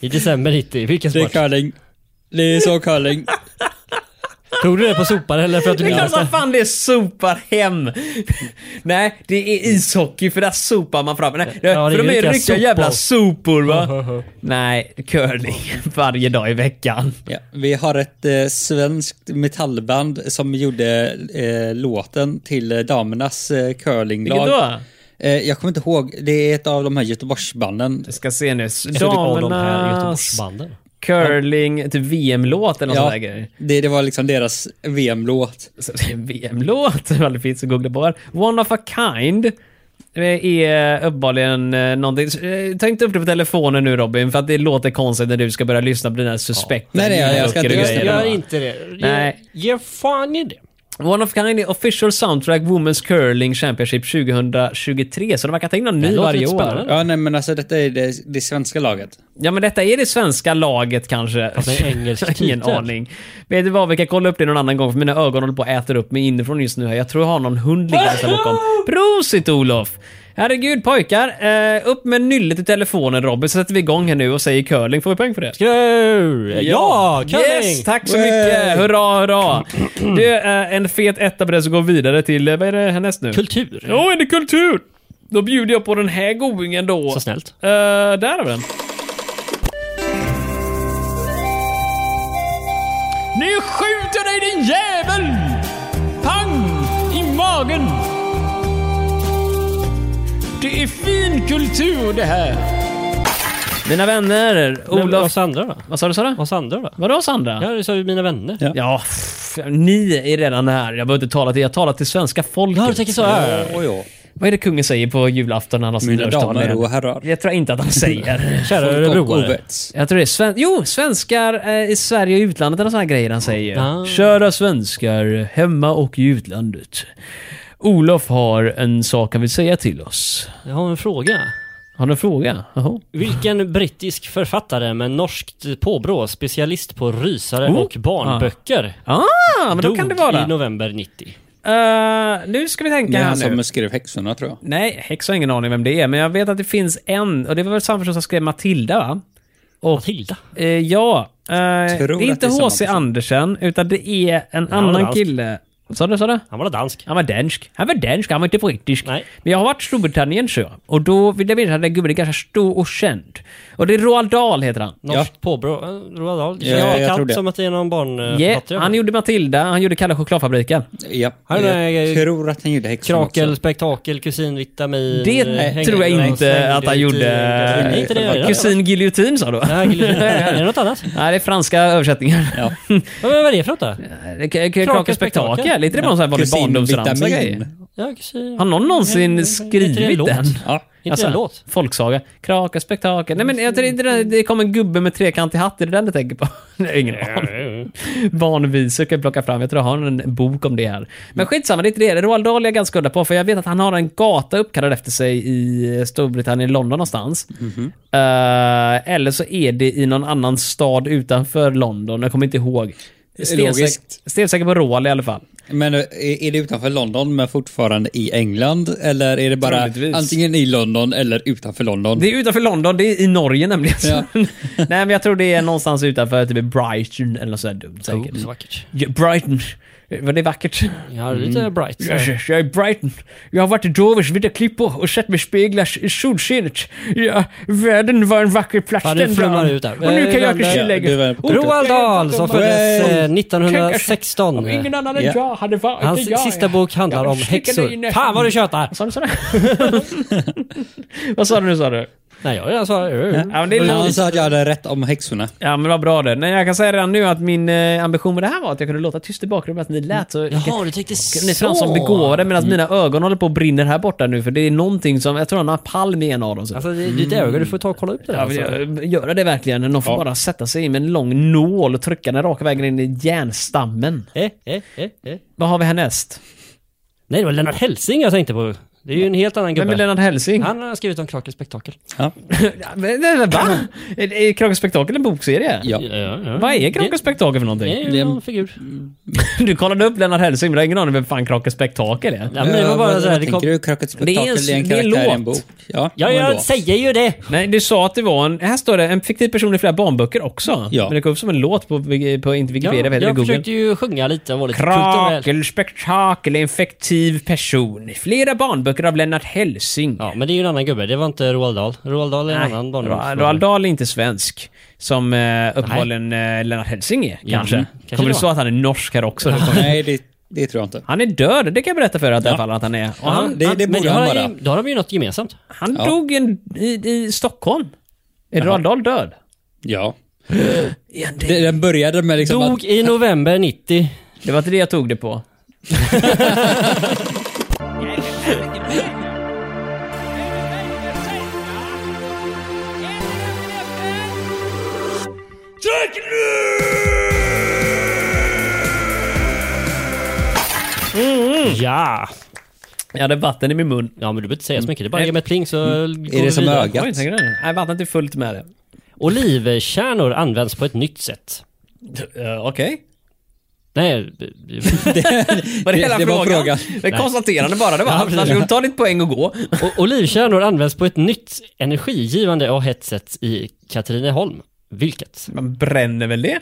i december 90. Vilken det är sport? curling. Det är så curling. Tog du det på sopar eller för att du Det är klart minns som det? fan det är sopar hem. Nej, det är ishockey för där sopar man fram. Nej, Ja, det är för de är ju riktiga riktiga sopor. jävla sopor va? Nej, curling varje dag i veckan. Ja, vi har ett eh, svenskt metallband som gjorde eh, låten till eh, damernas eh, curlinglag. Vilket då? Eh, jag kommer inte ihåg. Det är ett av de här Göteborgsbanden. Jag ska se nu. Jag tycker om de här Damernas Göteborgsbanden. curling, typ VM-låt eller någon sån där grej. det, det var liksom deras VM-låt. Så- VM-låt, vad det finns att googla på här. One of a kind eh, är uppenbarligen eh, någonting. Så, eh, Ta inte upp det på telefonen nu Robin, för att det låter konstigt när du ska börja lyssna på dina suspekta Nej, nej, jag- jag ska inte ljudböcker och lyssna. grejer. Gör inte det. Ge- Nej. Ge fan i det. One of a kind är official soundtrack Women's Curling Championship 2023, så de verkar ta in någon ny låter varje lite år. spännande. Ja, nej men alltså detta är det, det svenska laget. Ja men detta är det svenska laget kanske. Fast med engelsk Ingen titel. aning. Vet du vad, vi kan kolla upp det någon annan gång för mina ögon håller på att äta upp mig inifrån just nu. här. Jag tror jag har någon hund liggandes där bakom. Prosit Olof! Herregud pojkar, eh, upp med nyllet i telefonen Robin så sätter vi igång här nu och säger curling. Får vi poäng för det? Kul! Ja, Yes, curling! tack så mycket! Hurra, hurra! Det är en fet etta på det som går vidare till, eh, vad är det härnäst nu? Kultur. Ja, är det kultur? Då bjuder jag på den här goingen då. Så snällt. Eh, där har vi den. Nu skjuter dig din jävel! Pang! I magen! Det är fin kultur det här. Mina vänner, Men Olof... oss andra då? Vad sa du, sa du? Oss andra då? Vadå Sandra? Ja, det sa ju mina vänner. Ja. Ja, pff, ni är redan här. Jag behöver inte tala till Jag talar till svenska folket. Ja, du tänker så här. Och ja, Vad är det kungen säger på julafton när han har sin mina damer lörsdag? och herrar. Jag tror inte att han säger. Kära Folk och örebroare. ovets. Jag tror det är sven- Jo, svenskar eh, i Sverige och utlandet eller sådana grejer han säger. Ah. Kära svenskar, hemma och i utlandet. Olof har en sak han vill säga till oss. Jag har en fråga. Har du en fråga? Jaha. Vilken brittisk författare med norskt påbrå, specialist på rysare Oh. och barnböcker, Ah, men då kan det dog vara. i november 90? Eh, nu ska vi Det tänka är här han nu. som skrev Häxorna tror jag. Nej, Hex har ingen aning vem det är, men jag vet att det finns en. Och det var väl samma person som skrev Matilda, va? Matilda? Eh, ja. Eh, det är att inte det är samma H.C. person. Andersen, utan det är en var annan dansk. kille. Sa du, sa du? Han var dansk. Han var dansk. Han var dansk, han var inte brittisk. Nej. Men jag har varit i Storbritannien så. Och då vill jag veta att den gubben är ganska stor och känd. Och det är Roald Dahl heter han. Norskt påbrå. eh, Roald Dahl. Det Ja, känns jag bekant tror det. som att det är någon eh, barnförfattare. Yeah, han gjorde Matilda, han gjorde Kalle Chokladfabriken. Ja, Han är- jag tror att han gjorde Häxorna Krakel, också. spektakel, kusin, vitamin. Det eh, tror jag hängbröd, inte att han hängbröd, gjorde. hängbröd. Nej, inte det. Eh, Kusin Giljotin sa du? Nej, giljotin. Är det något annat? Nej, det är franska översättningar. Ja. Vad vad är det för något då? Krake spektakel? spektakel. Lite det bara någon sån här vanlig Kusin barndomsramsa Vitamin. grej? Ja, kusin. Har alltså- någon någonsin Inte det en skrivit låt? den? Ja. Inte en låt? Folksaga. Krake spektakel. Nej men jag tror inte det, det kom en gubbe med trekantig hatt. Är det den du tänker på? Nej, ingen aning. Barnvisor kan jag plocka fram. Jag tror jag har en bok om det här. Men skitsamma, det är inte det. Roald Dahl är jag ganska udda på för jag vet att han har en gata uppkallad efter sig i Storbritannien, London någonstans. Eh, eller så är det i någon annan stad utanför London. Jag kommer inte ihåg. Logiskt. Stensäk- Stensäker på Roald i alla fall. Men eh, är är det utanför London men fortfarande i England? Eller är det bara Troligtvis. antingen i London eller utanför London? Det är utanför London, det är i Norge nämligen. Ja. Nej men jag tror det är någonstans utanför typ Brighton eller något sådär dumt säkert. Oh, så vackert. Ja, Brighton. Var det är vackert? Ja, det är Mm. lite bright. så. Jag, jag är i Brighton. Jag har varit i Dovers vita klippor och sett mig speglas i solskenet. Ja, världen var en vacker plats Ja, det den flummar dagen. ut där. Och nu kan Eh, jag inte den där- Ja, det tillägga. var- Och Roald Dahl som föddes eh, Om 1916. ingen annan än Ja. jag hade varit Hans jag. sista bok handlar Jag om sticker dig i häxor. näsan. Fan vad du tjötar! Vad sa du? Sa du? Vad sa du nu? Sa du? Nej, jag jag sa... Ja, men det är Men lugnt. alltså- Han sa att jag hade rätt om Häxorna. Ja men vad bra det. Nej, jag kan säga redan nu att min eh, ambition med det här var att jag kunde låta tyst i bakgrunden att ni lät så... Jaha, du tänkte Ni är fram som så. Mm. begåvade medan mina ögon håller på att brinna här borta nu för det är någonting som, jag tror han har palm i en av dem. Så. Alltså, det är ditt öga. Du får ta och kolla upp det där. Ja, men Alltså. gö- göra det verkligen. Någon får bara sätta sig in med en lång nål och trycka den raka vägen in i järnstammen. Eh, eh, eh, eh. Vad har vi härnäst? Nej, det var Lennart Hälsing jag tänkte på. Det är ju en helt annan Vem är gubbe. Lennart Hellsing? Han har skrivit om Krakens spektakel. Ja. Ja, men- nej, men Va? Är, är Krake Spektakel en bokserie? Ja. Vad är Krake Spektakel för Mm, Det någonting? är ju någon figur. Du kollade upp Lennart Hälsing men du har ingen aning vem fan Krake Spektakel är? Ja, men det var bara vad, så här, Eh, vad det kom... tänker du? Krackets spektakel Det är en- är en det är en karaktär i en låt. bok. Ja, Ja, och en jag låt. säger ju det! Nej, du sa att det var en... Här står det en fiktiv person i flera barnböcker också. Ja. Men det kom upp som en låt på, på inte Ja, Wikipedia, vad heter det? jag Google. försökte ju sjunga lite och vara lite kulturell. Krakel Spektakel är en fiktiv person. i Flera barnböcker av Lennart Hellsing. Ja, men det är ju en annan gubbe. Det var inte Roald Dahl. Roald Dahl är en Nej, annan Ra- barndomsgubbe. Roald Dahl är inte svensk. Som eh, uppenbarligen eh, Lennart Hellsing är, kanske. kanske Kommer det du var. så att han är norsk här också? Nej, det, det tror jag inte. han är död, det kan jag berätta för er att, i alla fall att han är. Och han det- det men borde då har han ju- Då har de ju något gemensamt. han Ja. dog en, i, i Stockholm. Är Roald Dahl död? Ja. Det, den började med liksom Dog i november 90. Det var inte det jag tog det på. Ja! Jag hade vatten i min mun. Ja, men du behöver inte säga så mycket. Det är bara ge mig ett pling så går Mm. Är vi det som vidare. ögat? Oj, tänker du det? Nej, vattnet är fullt med det. Olivkärnor används på ett nytt sätt. Eh, Okej. Nej, Var det, Det- hela det var frågan? frågan. Det Nej. konstaterande bara. Det var Ja, allt. Varsågod, ta ditt poäng och gå. O- Olivkärnor används på ett nytt energigivande och hett sätt i Katrineholm. Vilket? Man bränner väl det?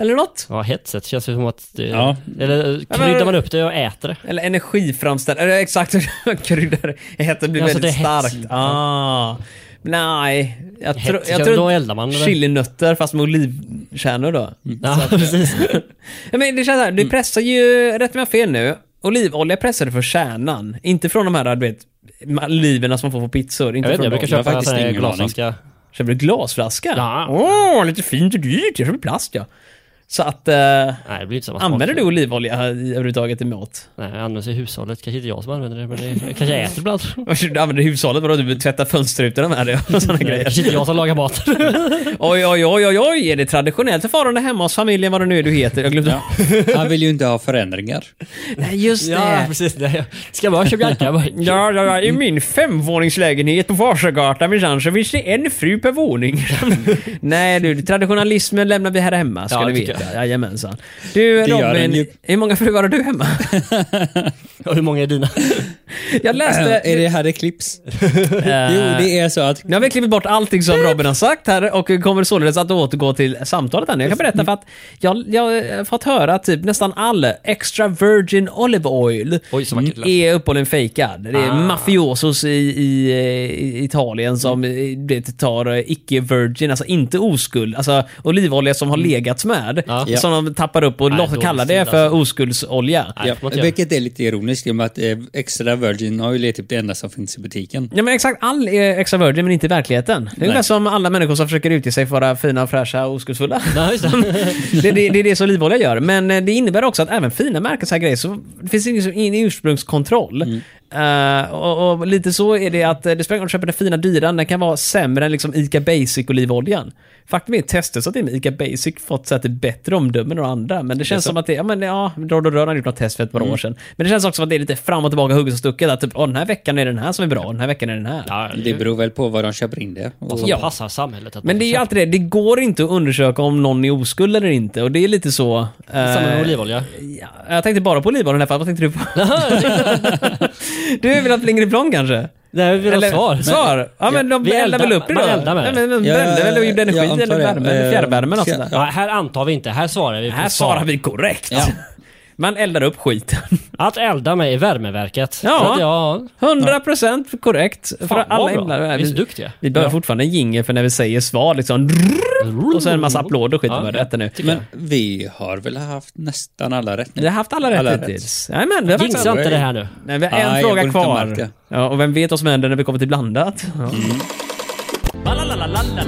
Eller något? Ja, hett sätt känns ju som att det, Ja. Eller eh, kryddar man upp det och äter det? Eller energiframställning? Eller exakt hur man kryddar. Heten blir Ja, så väldigt det är hets. starkt. Ah. Nej, jag, Hett, tror- jag ja, tror... då eldar man Mm. det. Chilinötter fast med olivkärnor då. Ja, eh, precis. Ja, men det känns så här, det Mm. pressar ju, rätt mig om jag har fel nu, olivolja pressar du för kärnan. Inte från de här, du vet, oliverna som man får på pizzor. Inte Jag vet inte, från jag brukar dem. Jag har köpa en faktiskt sån här ingen aning. glasflaska. Köper du glasflaska? Ja. Åh, lite fint och dyrt. Jag köper plast ja. Så att, eh, Nej, det blir inte samma smak. använder du olivolja i- överhuvudtaget i mat? Nej, det används i hushållet. Kanske inte jag som använder det, men det kanske jag äter ibland. Du använder hushållet, vadå? Du tvättar fönsterrutorna med det och sådana grejer. Kanske inte jag som lagar mat. Oj, oj, oj, oj, oj, är det traditionellt förfarande hemma hos familjen, vad det nu är du heter? Jag glömde. Han vill ju inte ha förändringar. Nej, just det. ja, precis. Det. Ska man köpa jacka? Ja, ja, ja, i min femvåningslägenhet på Vasagatan minsann så finns det en fru per våning. Nej du, traditionalismen lämnar vi här hemma ska Ja, du det tycker veta. Jajamensan. Du Det gör den Robin, ju. hur många fruar har du hemma? Ja, Hur många är dina? Jag läste... är det här det klipps? jo, det är så att Nu har vi klivit bort allting som Robin har sagt här och kommer således att återgå till samtalet här nu. Jag kan berätta för att jag, jag har fått höra typ nästan all extra virgin olive oil Oj, så vackert det lät. är uppehållen fejkad. Det är Ah. mafiosos i, i, i Italien som Mm. eh, det tar eh, icke-virgin, alltså inte oskuld, alltså olivolja som har legats med, Mm. Ja. som de tappar upp och Nej, låt- dålig kallar stil det för alltså. oskuldsolja. Nej, får man inte Ja, göra. vilket är lite ironiskt i och med att eh, extra virgin oil är typ det enda som finns i butiken. Mm. Ja men exakt, all är extra virgin men inte i verkligheten. Det är ungefär som alla människor som försöker utge sig för att vara fina, fräscha och oskuldsfulla. Ja, just det. det, det, det är det som olivolja gör. Men eh, det innebär också att även fina märken så här grejer, så det finns ingen, ingen ursprungskontroll. Mm. Eh, och, och lite så är det att eh, det spelar ingen roll om du köper den fina dyran, den kan vara sämre än liksom ICA Basic olivoljan. Faktum är tester så att till och med ICA Basic fått så att det är bättre omdömen än de andra. Men det känns som att det, ja men ja, Rod och Rör har gjort något test för ett par Mm. år sedan. Men det känns också som att det är lite fram och tillbaka, hugget och stucket. Att typ, åh, den här veckan är den här som är bra, den här veckan är den här. Ja, Det beror väl på vad de köper in det. Och, som Ja. passar samhället. Att Men man det är ju köper. alltid det, det går inte att undersöka om någon är oskuld eller inte och det är lite så... eh, Samma med olivolja. ja, jag tänkte bara på olivolja i det här fallet, vad tänkte du på? du vill ha flingri plong kanske? Nej, vi vill ha Eller- svar. Svar? Ja men de vi eldar eldar- väl upp det då? man eldar med Ja, det. men de Ja, brände väl och gjorde jag energi antar eller det. värme, Eh, eller fjärrvärme eller något ja. sånt där. Ja, här antar vi inte, här svarar vi på Här svar. svarar vi korrekt. Ja. Man eldar upp skiten. Att elda med i värmeverket. Ja. Så att jag- 100% korrekt. för vad alla bra. eldar. Vi är så duktiga. Vi behöver fortfarande en jingle för när vi säger svar liksom. Och så en massa applåder och skit. Ja, Ja, rätt nu. men vi har väl haft nästan alla rätt nu. Vi har haft alla rätt Alla hittills. Jajamän, vi har faktiskt Jinxa inte det här nu. Nej, vi har en Nej, jag fråga borde inte ha märkt kvar. det. Ja, och vem vet vad som händer när vi kommer till blandat? Ja.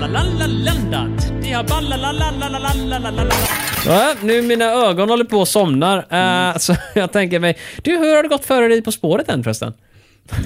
Ballalalalalalalalalandat. Det har ballalalalalalalalalalala. Ja, nu mina ögon håller på att somnar. Eh, så jag tänker mig, du hur har det gått för dig På spåret än förresten?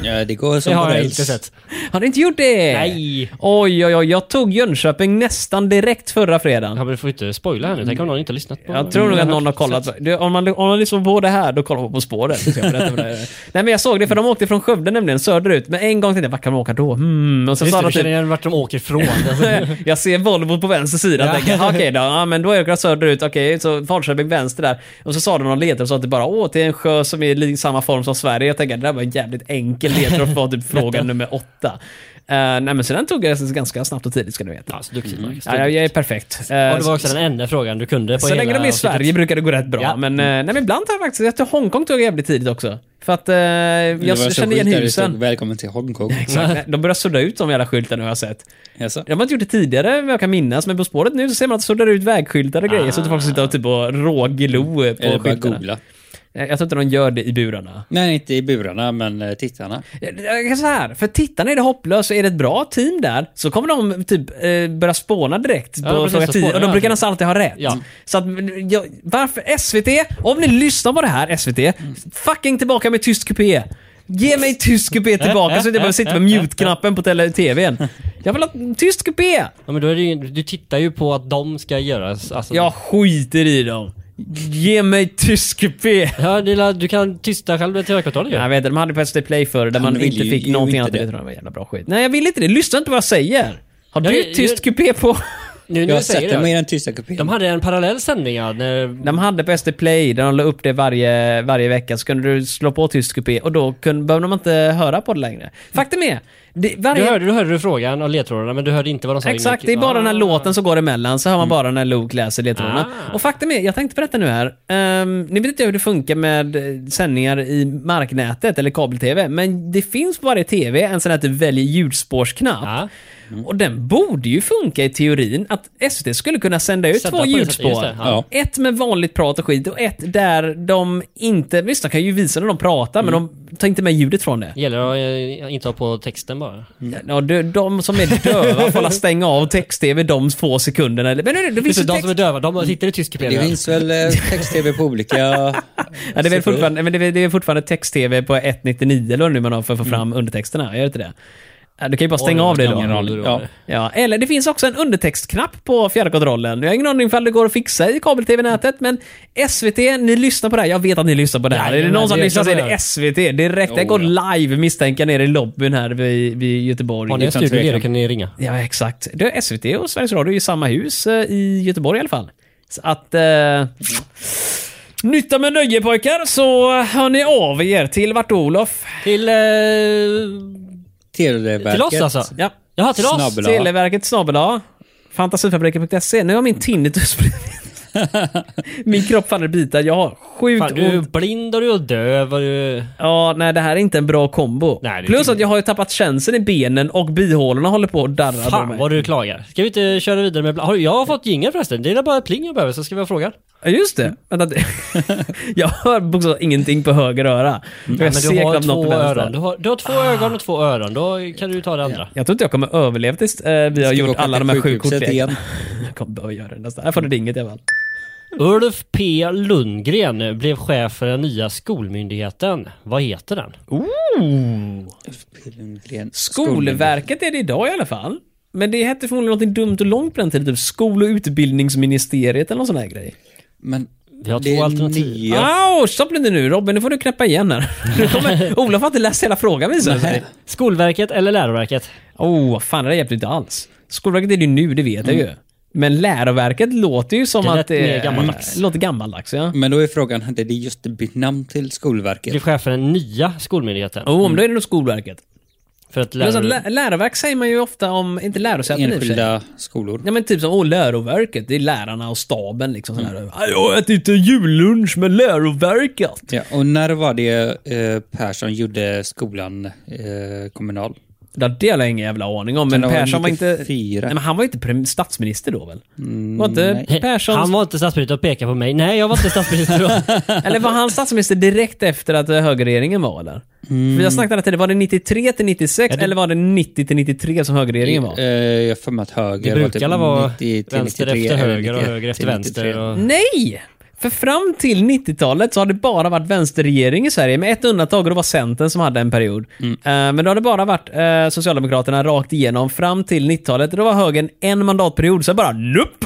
Ja, det går som Det har på jag räls. inte sett. Har du inte gjort det? Nej. Oj, oj, oj. Jag tog Jönköping nästan direkt förra fredagen. Ja, men du får inte spoila här nu. Tänk om någon inte har lyssnat på Jag tror nog att någon har kollat. Du, om, man, om man lyssnar på det här, då kollar man på spåret. Så jag berättar vad det är. Nej men jag såg det, för de åkte från Skövde nämligen, söderut. Men en gång tänkte jag, vart kan de åka då? Hmm. Och så Just sa det, de du typ, känner igen vart de åker ifrån. Alltså, jag ser Volvo på vänster sida Ja. och tänker, "Ah, okej då, ja, men då åker jag söderut, okej, så Falköping vänster där. Och så sa de någon ledtråd och sa att det bara, åh, till en sjö som är i samma form som Sverige. Jag tänker, det där var en jävligt enkel ledtråd på typ fråga nummer åtta. Eh, nej men så den tog jag ganska snabbt och tidigt ska du veta. Ja, så duktigt Marcus. Ja, jag, jag är perfekt. Eh, Och det var också den enda frågan du kunde på så hela länge de är i avsnittet. Sverige brukar det gå rätt bra. Ja. Men, eh, nej, men ibland tar jag faktiskt... Jag tror Hongkong tog jag jävligt tidigt också. För att eh, Det var så jag kände igen sjukt där det stod, husen. Välkommen till Hongkong. Exakt. De börjar sudda ut de jävla skyltarna har jag sett. Jaså? De har inte gjort det tidigare vad jag kan minnas, men På spåret nu så ser man att de suddar ut vägskyltar och grejer. Så att folk sitter och typ och råglo Eller på bara skyltarna. googla. Eh, Jag tror inte de gör det i burarna. Nej, inte i burarna, men eh, tittarna. Jag jag kan säga Eh, så här, för tittarna är det hopplöst och är det ett bra team där så kommer de typ eh, börja spåna direkt Ja, på precis, fråga så 10 och spånar de de. brukar nästan alltid ha rätt. Ja. Så att, men, jag, varför SVT? Om ni lyssnar på det här SVT, fucking tillbaka med tyst kupé. Ge mig tyst kupé tillbaka så att jag behöver sitta med mute-knappen på tele- tvn. Jag vill ha tyst kupé! Ja, men då är det ju, du tittar ju på att de ska göras. Alltså, Jag skiter i dem. Ge mig tyst kupé! Ja, Dila, du kan tysta själv med tv-kontrollen ju. Jag vet inte, de hade på SVT Play förr där Han man vill inte ju- fick ju någonting inte annat. Det. det. tror jag var jävla bra skit. Nej, jag vill inte det. Lyssna inte på vad jag säger. Har Jag- du jag- tyst kupé på? Nu när Jag har du säger sett det. dem i den tysta kupén. De hade en parallell sändning ja, när, De hade på SD Play, där de la upp det varje, varje vecka, så kunde du slå på tyst kupé och då kunde, behövde man inte höra på det längre. Faktum är, det, du, varje, hörde, du hörde du frågan och ledtrådarna men du hörde inte vad de sa. in i Exakt, det är micken. bara den här Ah. låten som går emellan, så hör man bara när Luke läser ledtrådarna. Ah. Och faktum är, jag tänkte på detta nu här. Ehm, ni vet inte hur det funkar med eh, sändningar i marknätet eller kabel-tv, men det finns på varje tv en sån här att du väljer ljudspårsknapp. Ja. Och den borde ju funka i teorin, att SVT skulle kunna sända ut Sända två på det sättet, just ljudspår. det, ja. Ett med vanligt prat och skit och ett där de inte... Visst, de kan ju visa när de pratar, men de tar inte med ljudet från det. Gäller att eh, inte ha på texten bara. Ja, de, de som är döva får alla stänga av text-tv de få sekunderna. Eller- Men det, det finns Just ju det, de som är text... döva, de sitter i tysk kupé. Det finns väl eh, text-tv på olika... Ja, det, är väl fortfarande, men det, är, väl- det är fortfarande text-tv på 1.99 eller vad nu man har för att få fram undertexterna. Gör det inte det? Ja, Du kan ju bara stänga Mm. Oj, av det vad gammal då. du då Ja. är. Ja. Eller det finns också en undertextknapp på fjärrkontrollen. Jag har ingen aning ifall det går att fixa i kabel-tv-nätet, men SVT, ni lyssnar på det här. Jag vet att ni lyssnar på det här. är det Jajamän, någon som det är lyssnar så är klart det jag SVT direkt. Jag går live misstänker nere i lobbyn här vid, vid Göteborg. Liksom, Har ni en Utan studio tvekan. då kan ni ringa. Ja, exakt. Det är SVT och Sveriges Radio är i samma hus eh, i Göteborg i alla fall. Så att... Eh, nytta med nöje pojkar, så hör ni av er till vart Olof. Till, eh, Televerket. till oss alltså? Ja. Jaha, till oss? Snabbla. Televerket snabel A. Fantasifabriken.se. E. Nu har min tinnitus blivit- Min kropp faller i bitar. Jag har sjukt Fan, du är ont. blind och du är döv och du... Ja, nej det här är inte en bra kombo. Nej, det Plus tycker att jag har ju tappat känseln i benen och bihålorna håller på att darra. på Fan mig. vad du klagar. Ska vi inte köra vidare med... Har, jag har fått jingel förresten. Det är bara ett pling jag behöver så ska vi ha frågan. Ja just det. Vänta. jag hör bokstavligen ingenting på höger öra. Jag Nej, men ser du har knappt något två på vänster. öron. Du har, du har två ögon och två öron. Då kan du ta det andra. Jag tror inte jag kommer överleva tills eh, vi har vi gjort åka alla till de här sju sjukhuset kortleken. igen? Jag kommer behöva göra det nästa. Här får du ringet i alla fall. Ulf P Lundgren blev chef för den nya skolmyndigheten. Vad heter den? Pillengren. Skolverket är det idag i alla fall. Men det hette förmodligen något dumt och långt på den tiden. Typ skol och utbildningsministeriet eller någon sån här grej. Men Vi har det två är alternativ. Ah. nya- Au! Stopp lite nu Robin, nu får du knäppa igen här. Nu kommer, Olof har inte läst hela frågan visar det sig. Skolverket eller Läroverket? Åh, Oh, fan det hjälpte inte alls. Skolverket är det ju nu, det vet jag ju. Men läroverket låter ju som Mm. Det lät att det mer gammaldags. Mm. låter gammaldags. Ja. Men då är frågan, hade det just bytt namn till Blev Skolverket? chef för den nya skolmyndigheten. Oh, men då är det nog Skolverket. För att Plus att lärare... lä- läroverk säger man ju ofta om, inte lärosäten i och för sig. Enskilda skolor. Ja men typ som, åh läroverket, det är lärarna och staben liksom. Sådär. Mm. Jag äter inte jullunch med läroverket. Ja, och när var det eh, Persson gjorde skolan eh, kommunal? Ja, det har jag ingen jävla aning om. Men Kan det vara Persson var inte... 94? Nej, men han var ju inte prem- statsminister då väl? var inte Mm, Nej, Persson... Han var inte statsminister och pekade på mig. Nej, jag var inte statsminister då. Eller var han statsminister direkt efter att eh, högerregeringen var eller? För jag snackade hela tiden, var det 93 till 96 eller var det 90 till 93 som högerregeringen var? Eh, jag har för mig att höger Det brukar alla vara vänster 93 efter eller höger och 91 höger efter till vänster. 93. Och... Mm. Nej! För fram till 90-talet så har det bara varit vänsterregering i Sverige, med ett undantag och det var Centern som hade en period. Mm. Eh, men då har det bara varit eh, Socialdemokraterna rakt igenom fram till 90-talet. Då var högern en mandatperiod, så bara nupp!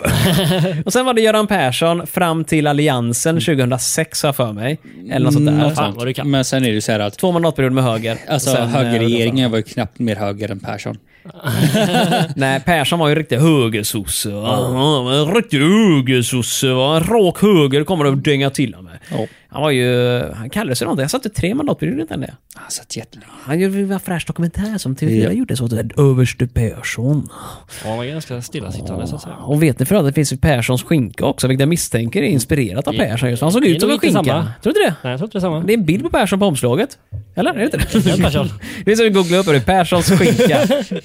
och sen var det Göran Persson fram till Mm. Alliansen 2006 har jag för mig. Eller något sånt där. Fan vad du kan. Men sen är det ju så här att Två mandatperioder med höger. Mm. Alltså Och sen, eh, högerregeringen var ju knappt mer höger än Persson. Nej, Persson var ju en riktig högersosse. va? Han var En riktig högersosse. va? En rak höger kommer att dänga till honom med. Ja. Han var ju... Han kallade sig någonting. Jag satt i tre mandatperioder innan det. Han satt jättelänge. Han gjorde en fräsch dokumentär som TV4 gjorde, så att Överste Persson. Ja, man är ganska stillasittande så att säga. Och vet ni för att det finns ju Perssons skinka också, vilket jag misstänker är inspirerat av Persson just. Han såg Det är ut som nog en inte skinka. samma. Tror du inte det? Nej, jag tror inte det är samma. Det är en bild på Persson på omslaget. Eller? Är det inte Det är det? Persson. Det är som vi googlar upp det. Perssons skinka.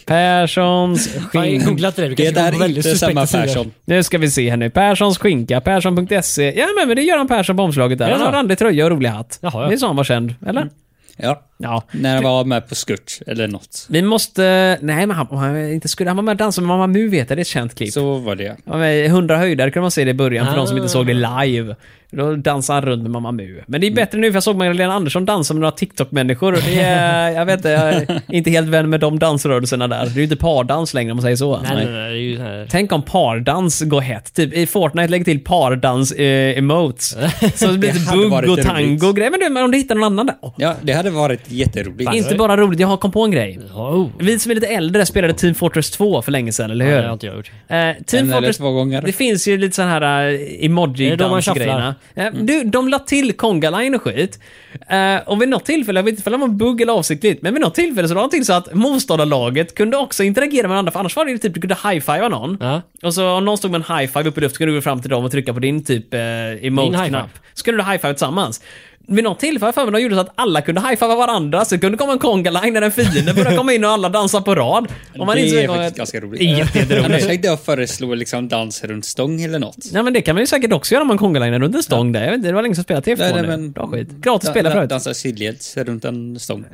Perssons Fan, jag skinka. har googlat det där. Du Det kanske kommer där på är väldigt inte samma suspekta sidor. Persson. Nu ska vi se här nu. Perssons skinka, Persson.se. Ja men det är Göran Persson på omslaget där. Är det Han har så? randig tröja och rolig hatt. Jaha, ja. Mm. Det är så han var känd, eller? Ja. Ja. När han var med på Skurt eller något. Vi måste... Nej men han, han, inte skulle, han var med och dansade med Mamma Mu vet jag, det är ett känt klipp. Så var det. Han var med i 100 höjder kunde man se det i början för Ah. Mm. de som inte såg det live. Då dansade han runt med Mamma Mu. Men det är bättre nu för jag såg Magdalena Andersson dansa med några TikTok-människor. och det är- Jag vet inte, jag är inte helt vän med de dansrörelserna där. Det är ju inte pardans längre om man säger så. Nej, nej, nej. Det är ju så här. Tänk om pardans går hett. Typ i Fortnite lägger till pardans-emotes. så det blir Det lite hade bugg varit och roligt. tango och grejer. Men du, men om du hittar någon annan där. Åh, Ja, det hade varit jätte, jätteroligt. Inte bara roligt, jag har kom på en grej. Oh. Vi som är lite äldre spelade Team Fortress 2 för länge sedan, eller Nej, hur? det har inte jag gjort. Eh, Team En eller Fortress, två gånger. Det finns ju lite sån här eh, Är emoji det då man Mm. shufflar? dansgrejerna eh, Du, de la till Konga-line och skit. Eh, och vid något tillfälle, jag vet inte om det var en bugg eller avsiktligt, men vid något tillfälle så la de till så att motståndarlaget kunde också interagera med varandra, för annars var det ju typ du kunde high-fivea någon. Ja. Och så om någon stod med en high-five uppe i luften så kunde du gå fram till dem och trycka på din typ eh, high-five. emote-knapp. Så kunde du high-five tillsammans. Vid något tillfälle för mig, de gjorde så att alla kunde high-fivea varandra, så det kunde komma en konga-line när en fiende började komma in och alla dansar på rad. Om man det insåg är en gång faktiskt att- ganska roligt. Jätte- jätteroligt. Annars tänkte jag föreslå liksom dans runt stång eller något. Ja men det kan man ju säkert också göra om man kongalagnar runt en stång där. Jag vet inte, det var länge sedan jag spelade TF2 nu. Bra skit. Gratis spela Da- da- förut. Dansa sidleds runt en stång.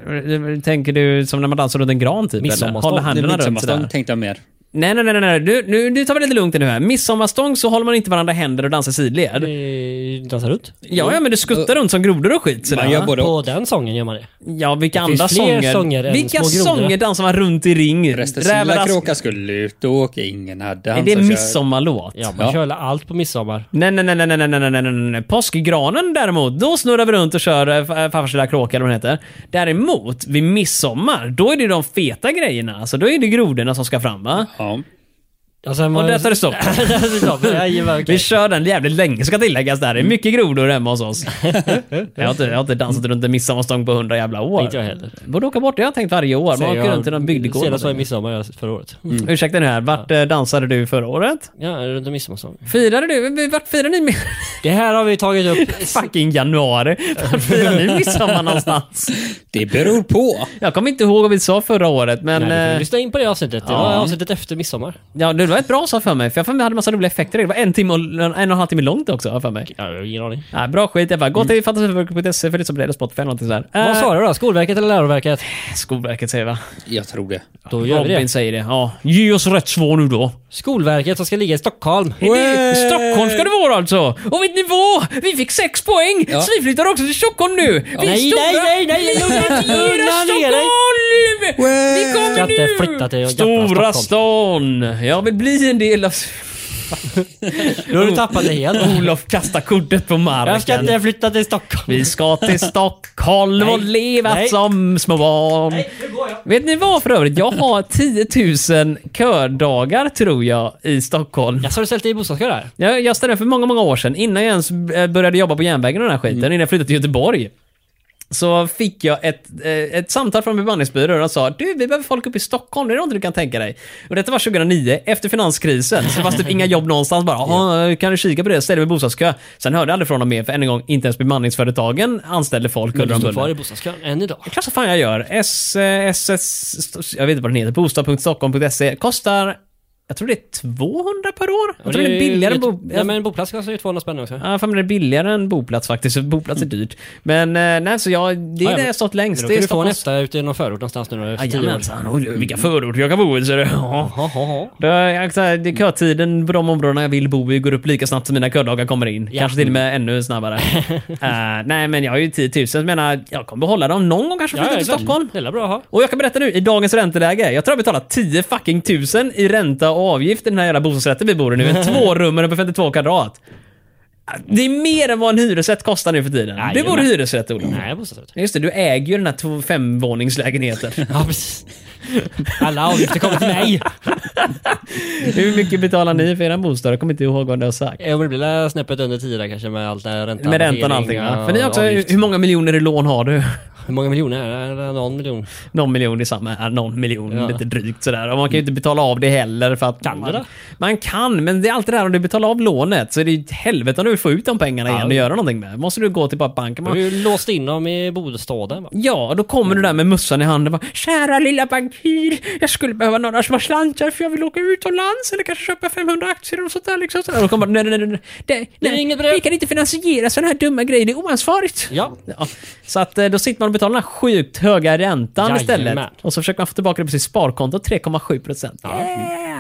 Tänker du som när man dansar runt en gran typ? Eller? Midsommarstång. Håller Det händerna blir runt sommarstång sådär? tänkte jag mer. Nej, nej, nej, nej, nej. Du, nu, nu tar vi det lite lugnt nu här. Midsommarstång så håller man inte varandra i händer och dansar sidled. Eh, Dansar runt? Ja, ja, men du skuttar Mm. runt som grodor och skit sådär. Man gör va? både På och. den sången gör man det. Ja, vilka finns andra fler sånger? sånger än vilka små grodor. sånger dansar man runt i ring? Resten Rävar, silla ask- kråka skulle ut och åka, ingen hade Är han det som kör. midsommarlåt? Ja, man Ja. kör allt på midsommar. Nej, nej, nej, nej, nej, nej, nej, nej, nej, nej. Påskgranen däremot, då snurrar vi runt och kör äh, farfars lilla kråka eller vad den heter. Däremot, vid midsommar, då är det de feta grejerna. Alltså, då är det grodorna som ska fram, va? Ja. Och, sen Och var- där tar det stopp. Där tar det stopp. Jajamän, okej. Vi kör den jävligt länge, ska tilläggas där. Det är mycket grodor hemma hos oss. jag, har inte, jag har inte dansat runt en midsommarstång på hundra jävla år. Inte jag heller. Borde åka bort det, jag har tänkt varje år. Man Säger åker jag- runt till någon bygdegård. Senast var i midsommar jag- förra året. Ursäkta nu här, vart eh, dansade du förra året? Mm. Ja, runt om midsommarstång. Firade du? Vart firade ni? med- Det här har vi tagit upp. Fucking januari. Vart firade ni midsommar någonstans? Det beror på. Jag kommer inte ihåg vad vi sa förra året, men... Nej, du får eh, lyssna in på det avsnittet. Det var Ja. avsnittet efter midsommar. ja, det var ett bra avsnitt för mig, för jag för mig hade massa roliga effekter i det. Det var en, timme och, en och en halv timme långt också, har jag för mig. Ja, jag har ingen aning. Ja, bra skit, jag bara, gå till fantasiförverket.se för det som blir Spotify eller någonting sådär. Mm. Vad Eh, svarar du då? Skolverket eller Läroverket? Skolverket säger va? Jag tror det. Då gör vi Robin det. säger det. Ja. Ge oss rätt svar nu då. Skolverket som ska ligga i Stockholm. Är det- Stockholm ska det vara alltså! Och vet ni vad? Vi fick sex poäng! Så vi flyttar också till Stockholm nu! Vi är Nej, stora- nej, nej, nej, Vi är lugna- stora lugna ner dig. Stockholm! Vi Ska kommer inte nu! flytta till jävla Stora Stockholm. stan! Jag vill bli en del av... Nu har du tappat det helt. Olof kastar kortet på marken. Jag ska inte flytta till Stockholm. Vi ska till Stockholm och Nej. leva Nej. som små barn. Vet ni vad för övrigt? Jag har 10 000 kördagar tror jag i Stockholm. Jaså, har du ställt dig i bostadskö där? Jag, jag ställde den för många, många år sedan. Innan jag ens eh, började jobba på järnvägen och den här skiten, Mm. innan jag flyttade till Göteborg. Så fick jag ett, eh, ett samtal från bemanningsbyrån och de sa du, vi behöver folk uppe i Stockholm, det är något du kan tänka dig. Och detta var 2009, efter finanskrisen. Så fanns typ inga jobb någonstans bara, "Jaha, kan du kika på det, ställ dig i bostadskö. Sen hörde jag aldrig från dem mer, för än en gång, inte ens bemanningsföretagen anställde folk. Men under de du står bullerna. kvar i bostadskön än idag. Klart som fan jag gör. S, eh, SS, st- jag vet inte vad den heter, bostad.stockholm.se kostar, jag tror det är 200 per år. Jag tror det är billigare än bo... Nej men boplats kostar ju 200 spänn också. Ja, för men det är billigare än boplats faktiskt. så Boplats är dyrt. Men eh, nej, så jag, det är Mm. ja, där men- jag stått Men längst. då Det kan är du få en Stockholms... etta ute i någon förort någonstans nu då efter tio år. Jajamensan, oj, vilka förorter jag kan bo i. Så det, ja. Jaha. Det är- jag kan säga, det är kötiden på de områdena jag vill bo i går upp lika snabbt som mina ködagar kommer in. Ja. Kanske till och med ännu snabbare. Eh, nej, men jag har ju 10 000. Jag menar, jag kommer behålla dem någon gång kanske flytta till Stockholm. Det är väl bra att ha. Och jag kan berätta nu, i dagens ränteläge, jag tror jag betalar 10 fucking tusen i ränta och avgift i den här jävla bostadsrätten vi bor i nu. En tvårummare på 52 kvadrat. Det är mer än vad en hyresrätt kostar nu för tiden. Nej, du bor i men- hyresrätt, Olof. Nej, bostadsrätt. Just det, du äger ju den här två- femvåningslägenheten. Ja, precis. Alla avgifter kommer till mig. Hur mycket betalar ni för er bostad? Jag kommer inte ihåg vad du har sagt. Jo, men det blir väl snäppet under 10 där kanske med allt det här räntan. Med räntan och allting amortering va? För ni har också, avgift. hur många miljoner i lån har du? Hur många miljoner är det? Någon miljon? Någon miljon i samma, äh, någon miljon Ja. lite drygt sådär. Och man kan ju inte betala av det heller för att... Kan du man, det? Man kan, men det är alltid det här om du betalar av lånet så är det ju ett helvete om du vill få ut de pengarna igen och göra någonting med. Måste du gå till bara banken. Du har Man, ju låst in dem i bostaden va? ja, då kommer du där Mm. med mössan i handen och bara “Kära lilla bankir, jag skulle behöva några små slantar för jag vill åka utomlands eller kanske köpa 500 aktier och sånt där liksom”. Och då kommer man “Nej, nej, nej, nej, nej, Det är nej, inget brev." vi kan inte finansiera sådana här dumma grejer, det är oansvarigt”. Ja. Ja. Så att eh, då sitter man och betalar den här sjukt höga räntan Jajamän. istället. Och så försöker man få tillbaka det på sitt sparkonto, 3,7 procent. Yeah.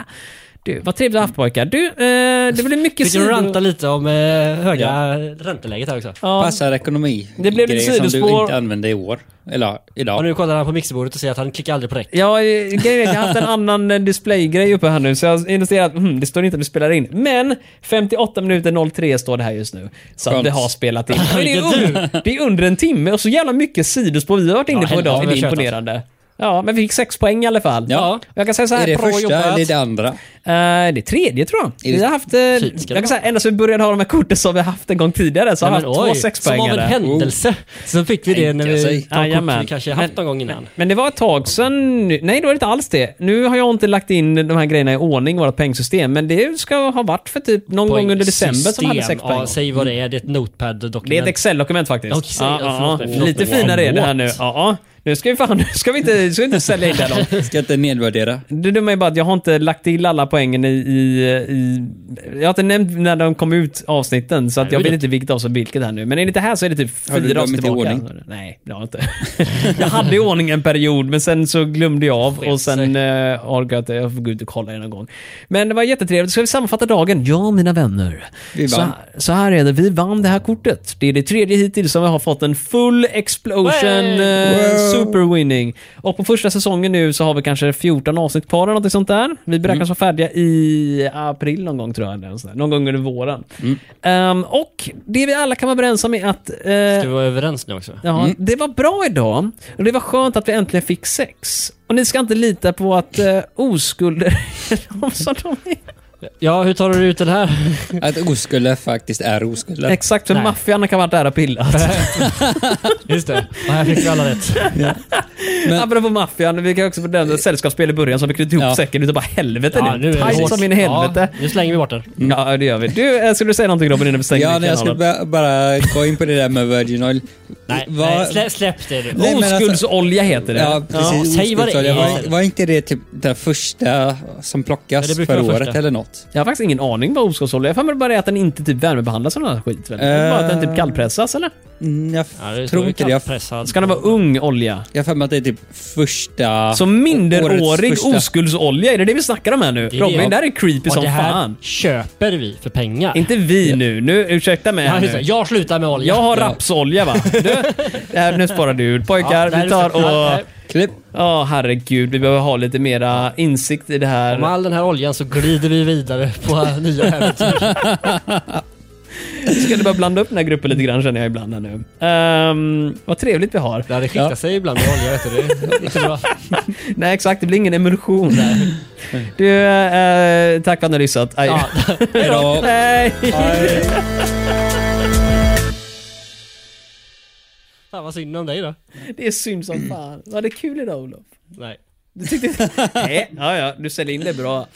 Du, vad trevligt att ha haft pojkar. Du, eh, det blir mycket Fick du ranta sido... lite om eh, höga ränteläget här också? Ja, Passar ekonomi. Det blev lite Grejer som du sidospår. inte använde i år. Eller ja, Och idag. nu kollar han på mixerbordet och ser att han klickar aldrig på räck. ja, eh, grejen är att jag har haft en annan eh, displaygrej uppe här nu, så jag har investerat... Mm, det står inte att vi spelar in. Men 58 minuter 03 står det här just nu. Så att Skönt. det har spelat in. Men det, är under, det är under en timme och så jävla mycket sidospår vi har varit inne Ja, på idag. helvete, Det vi är har kört imponerande. Ja, men vi fick sex poäng i alla fall. Ja. Jag kan säga så här, Är det bra första jobbat. eller det andra? Eh, det är tredje tror jag. det- Vi har haft, eh, jag Fint ska det kan vara. säga, ända sedan vi började ha de här korten som vi har haft en gång tidigare så har vi haft Nej, men två som av en sexpoängare. händelse. Så fick vi det när Tänka sig. vi tog kort Jajamän. vi kanske haft någon gång innan. Men det var ett tag sedan, nu- nej det var inte alls det. Nu har jag inte lagt in de här grejerna i ordning i vårt poängsystem, men det ska ha varit för typ någon gång under december som hade sex Poängsystem. poäng. Ja, säg vad det är. Det är ett notepad-dokument. Det är ett Excel-dokument faktiskt. Okej, Ja, ja, ja, förlåt mig, ja. förlåt Lite mig. finare är det här nu. Ja, What? ja. Nu ska vi fan, nu ska vi inte, ska vi inte sälja in det här långt. Ska inte nedvärdera. Det dumma är bara att jag har inte lagt till alla poängen i... i, i jag har inte nämnt när de kom ut avsnitten, så att jag vet vet du. inte vilket avsnitt vilket här nu. Men enligt det här så är det typ Har du fyra dem avsnitt inte i tillbaka. ordning? Nej, det har jag inte. jag hade i ordning en period, men sen så glömde jag av och sen eh, orkade jag inte. Jag får gå ut och kolla igen någon gång. Men det var jättetrevligt. Ska vi sammanfatta dagen? Ja, mina vänner. Vi Så, vann. så här är det, vi vann det här kortet. Det är det tredje hittills som vi har fått en full explosion eh, super winning. Och på första säsongen nu så har vi kanske 14 avsnitt kvar eller något sånt där. Vi beräknas Mm. vara färdiga i april någon gång tror jag. eller något sånt där. Någon gång under våren. Mm. Ehm, och det vi alla kan vara överens om är att eh, Ska vi Mm. vara överens nu också? Ja, Det var bra idag och det var skönt att vi äntligen fick sex. Och ni ska inte lita på att eh, oskulder är de som de är. Ja, hur tar du ut den här? Att oskulder faktiskt är oskulder. Exakt hur Nej. maffian kan ha varit där och pillat. Just det. Ja, här fick vi alla rätt. Men... Apropå maffian, vi kan också bedöma ett sällskapsspel i början som vi knyter ihop Ja. säcken utav bara helvete Ja, nu. det Tajt hårt. som in i helvete. Ja, nu slänger vi bort den. Ja, det gör vi. Du, eh, skulle du säga någonting Robin innan vi stänger Ja, nej, jag kanalen? skulle ba- bara gå in på det där med Virgin Oil. Nej, Vad- nej slä, släpp det nu. Nej, men alltså- Oskuldsolja heter det. Ja, precis. säg vad det Oskuldsolja. är. Var, var inte det typ den första som Ja, plockas det brukar för vara året första. eller något? Jag har faktiskt ingen aning vad oskuldsolja är. Jag har för mig bara är att den inte typ värmebehandlas eller något skit. Väl? Det är Bara att Eh. den typ kallpressas eller? Mm, jag Ja, det står tror ju inte det. Jag kallpressad. Ska den vara ung olja? Jag har för mig att det är typ första... Så årets minderårig första. oskuldsolja, är det det vi snackar om här nu? Det är det. Robin, det här är creepy Och som det här fan. köper vi för pengar. Inte vi nu. Nu, ursäkta mig ja, här just det. nu. jag slutar med olja. Jag har rapsolja va? Du, det här, nu sparar du ur. Pojkar, Ja, nej, vi tar det är så- och... nej. Klipp. Ja, herregud. Vi behöver ha lite mera insikt i det Med här. all den här oljan så glider vi vidare på nya äventyr. Jag skulle bara blanda upp den här gruppen lite grann känner jag ibland här nu. Ehm, vad trevligt vi har. Det hade skiktat Ja. sig ibland med olja, vet du. Det är inte bra. Nej, exakt. Det blir ingen emulsion där. Du, eh, tack för att ni har lyssnat. Aj. Ja. Hejdå. Hej! Fan vad synd om dig då. Det är synd som fan. Var det kul idag Olof? Nej. Nej, ja, ja. Du säljer in det bra.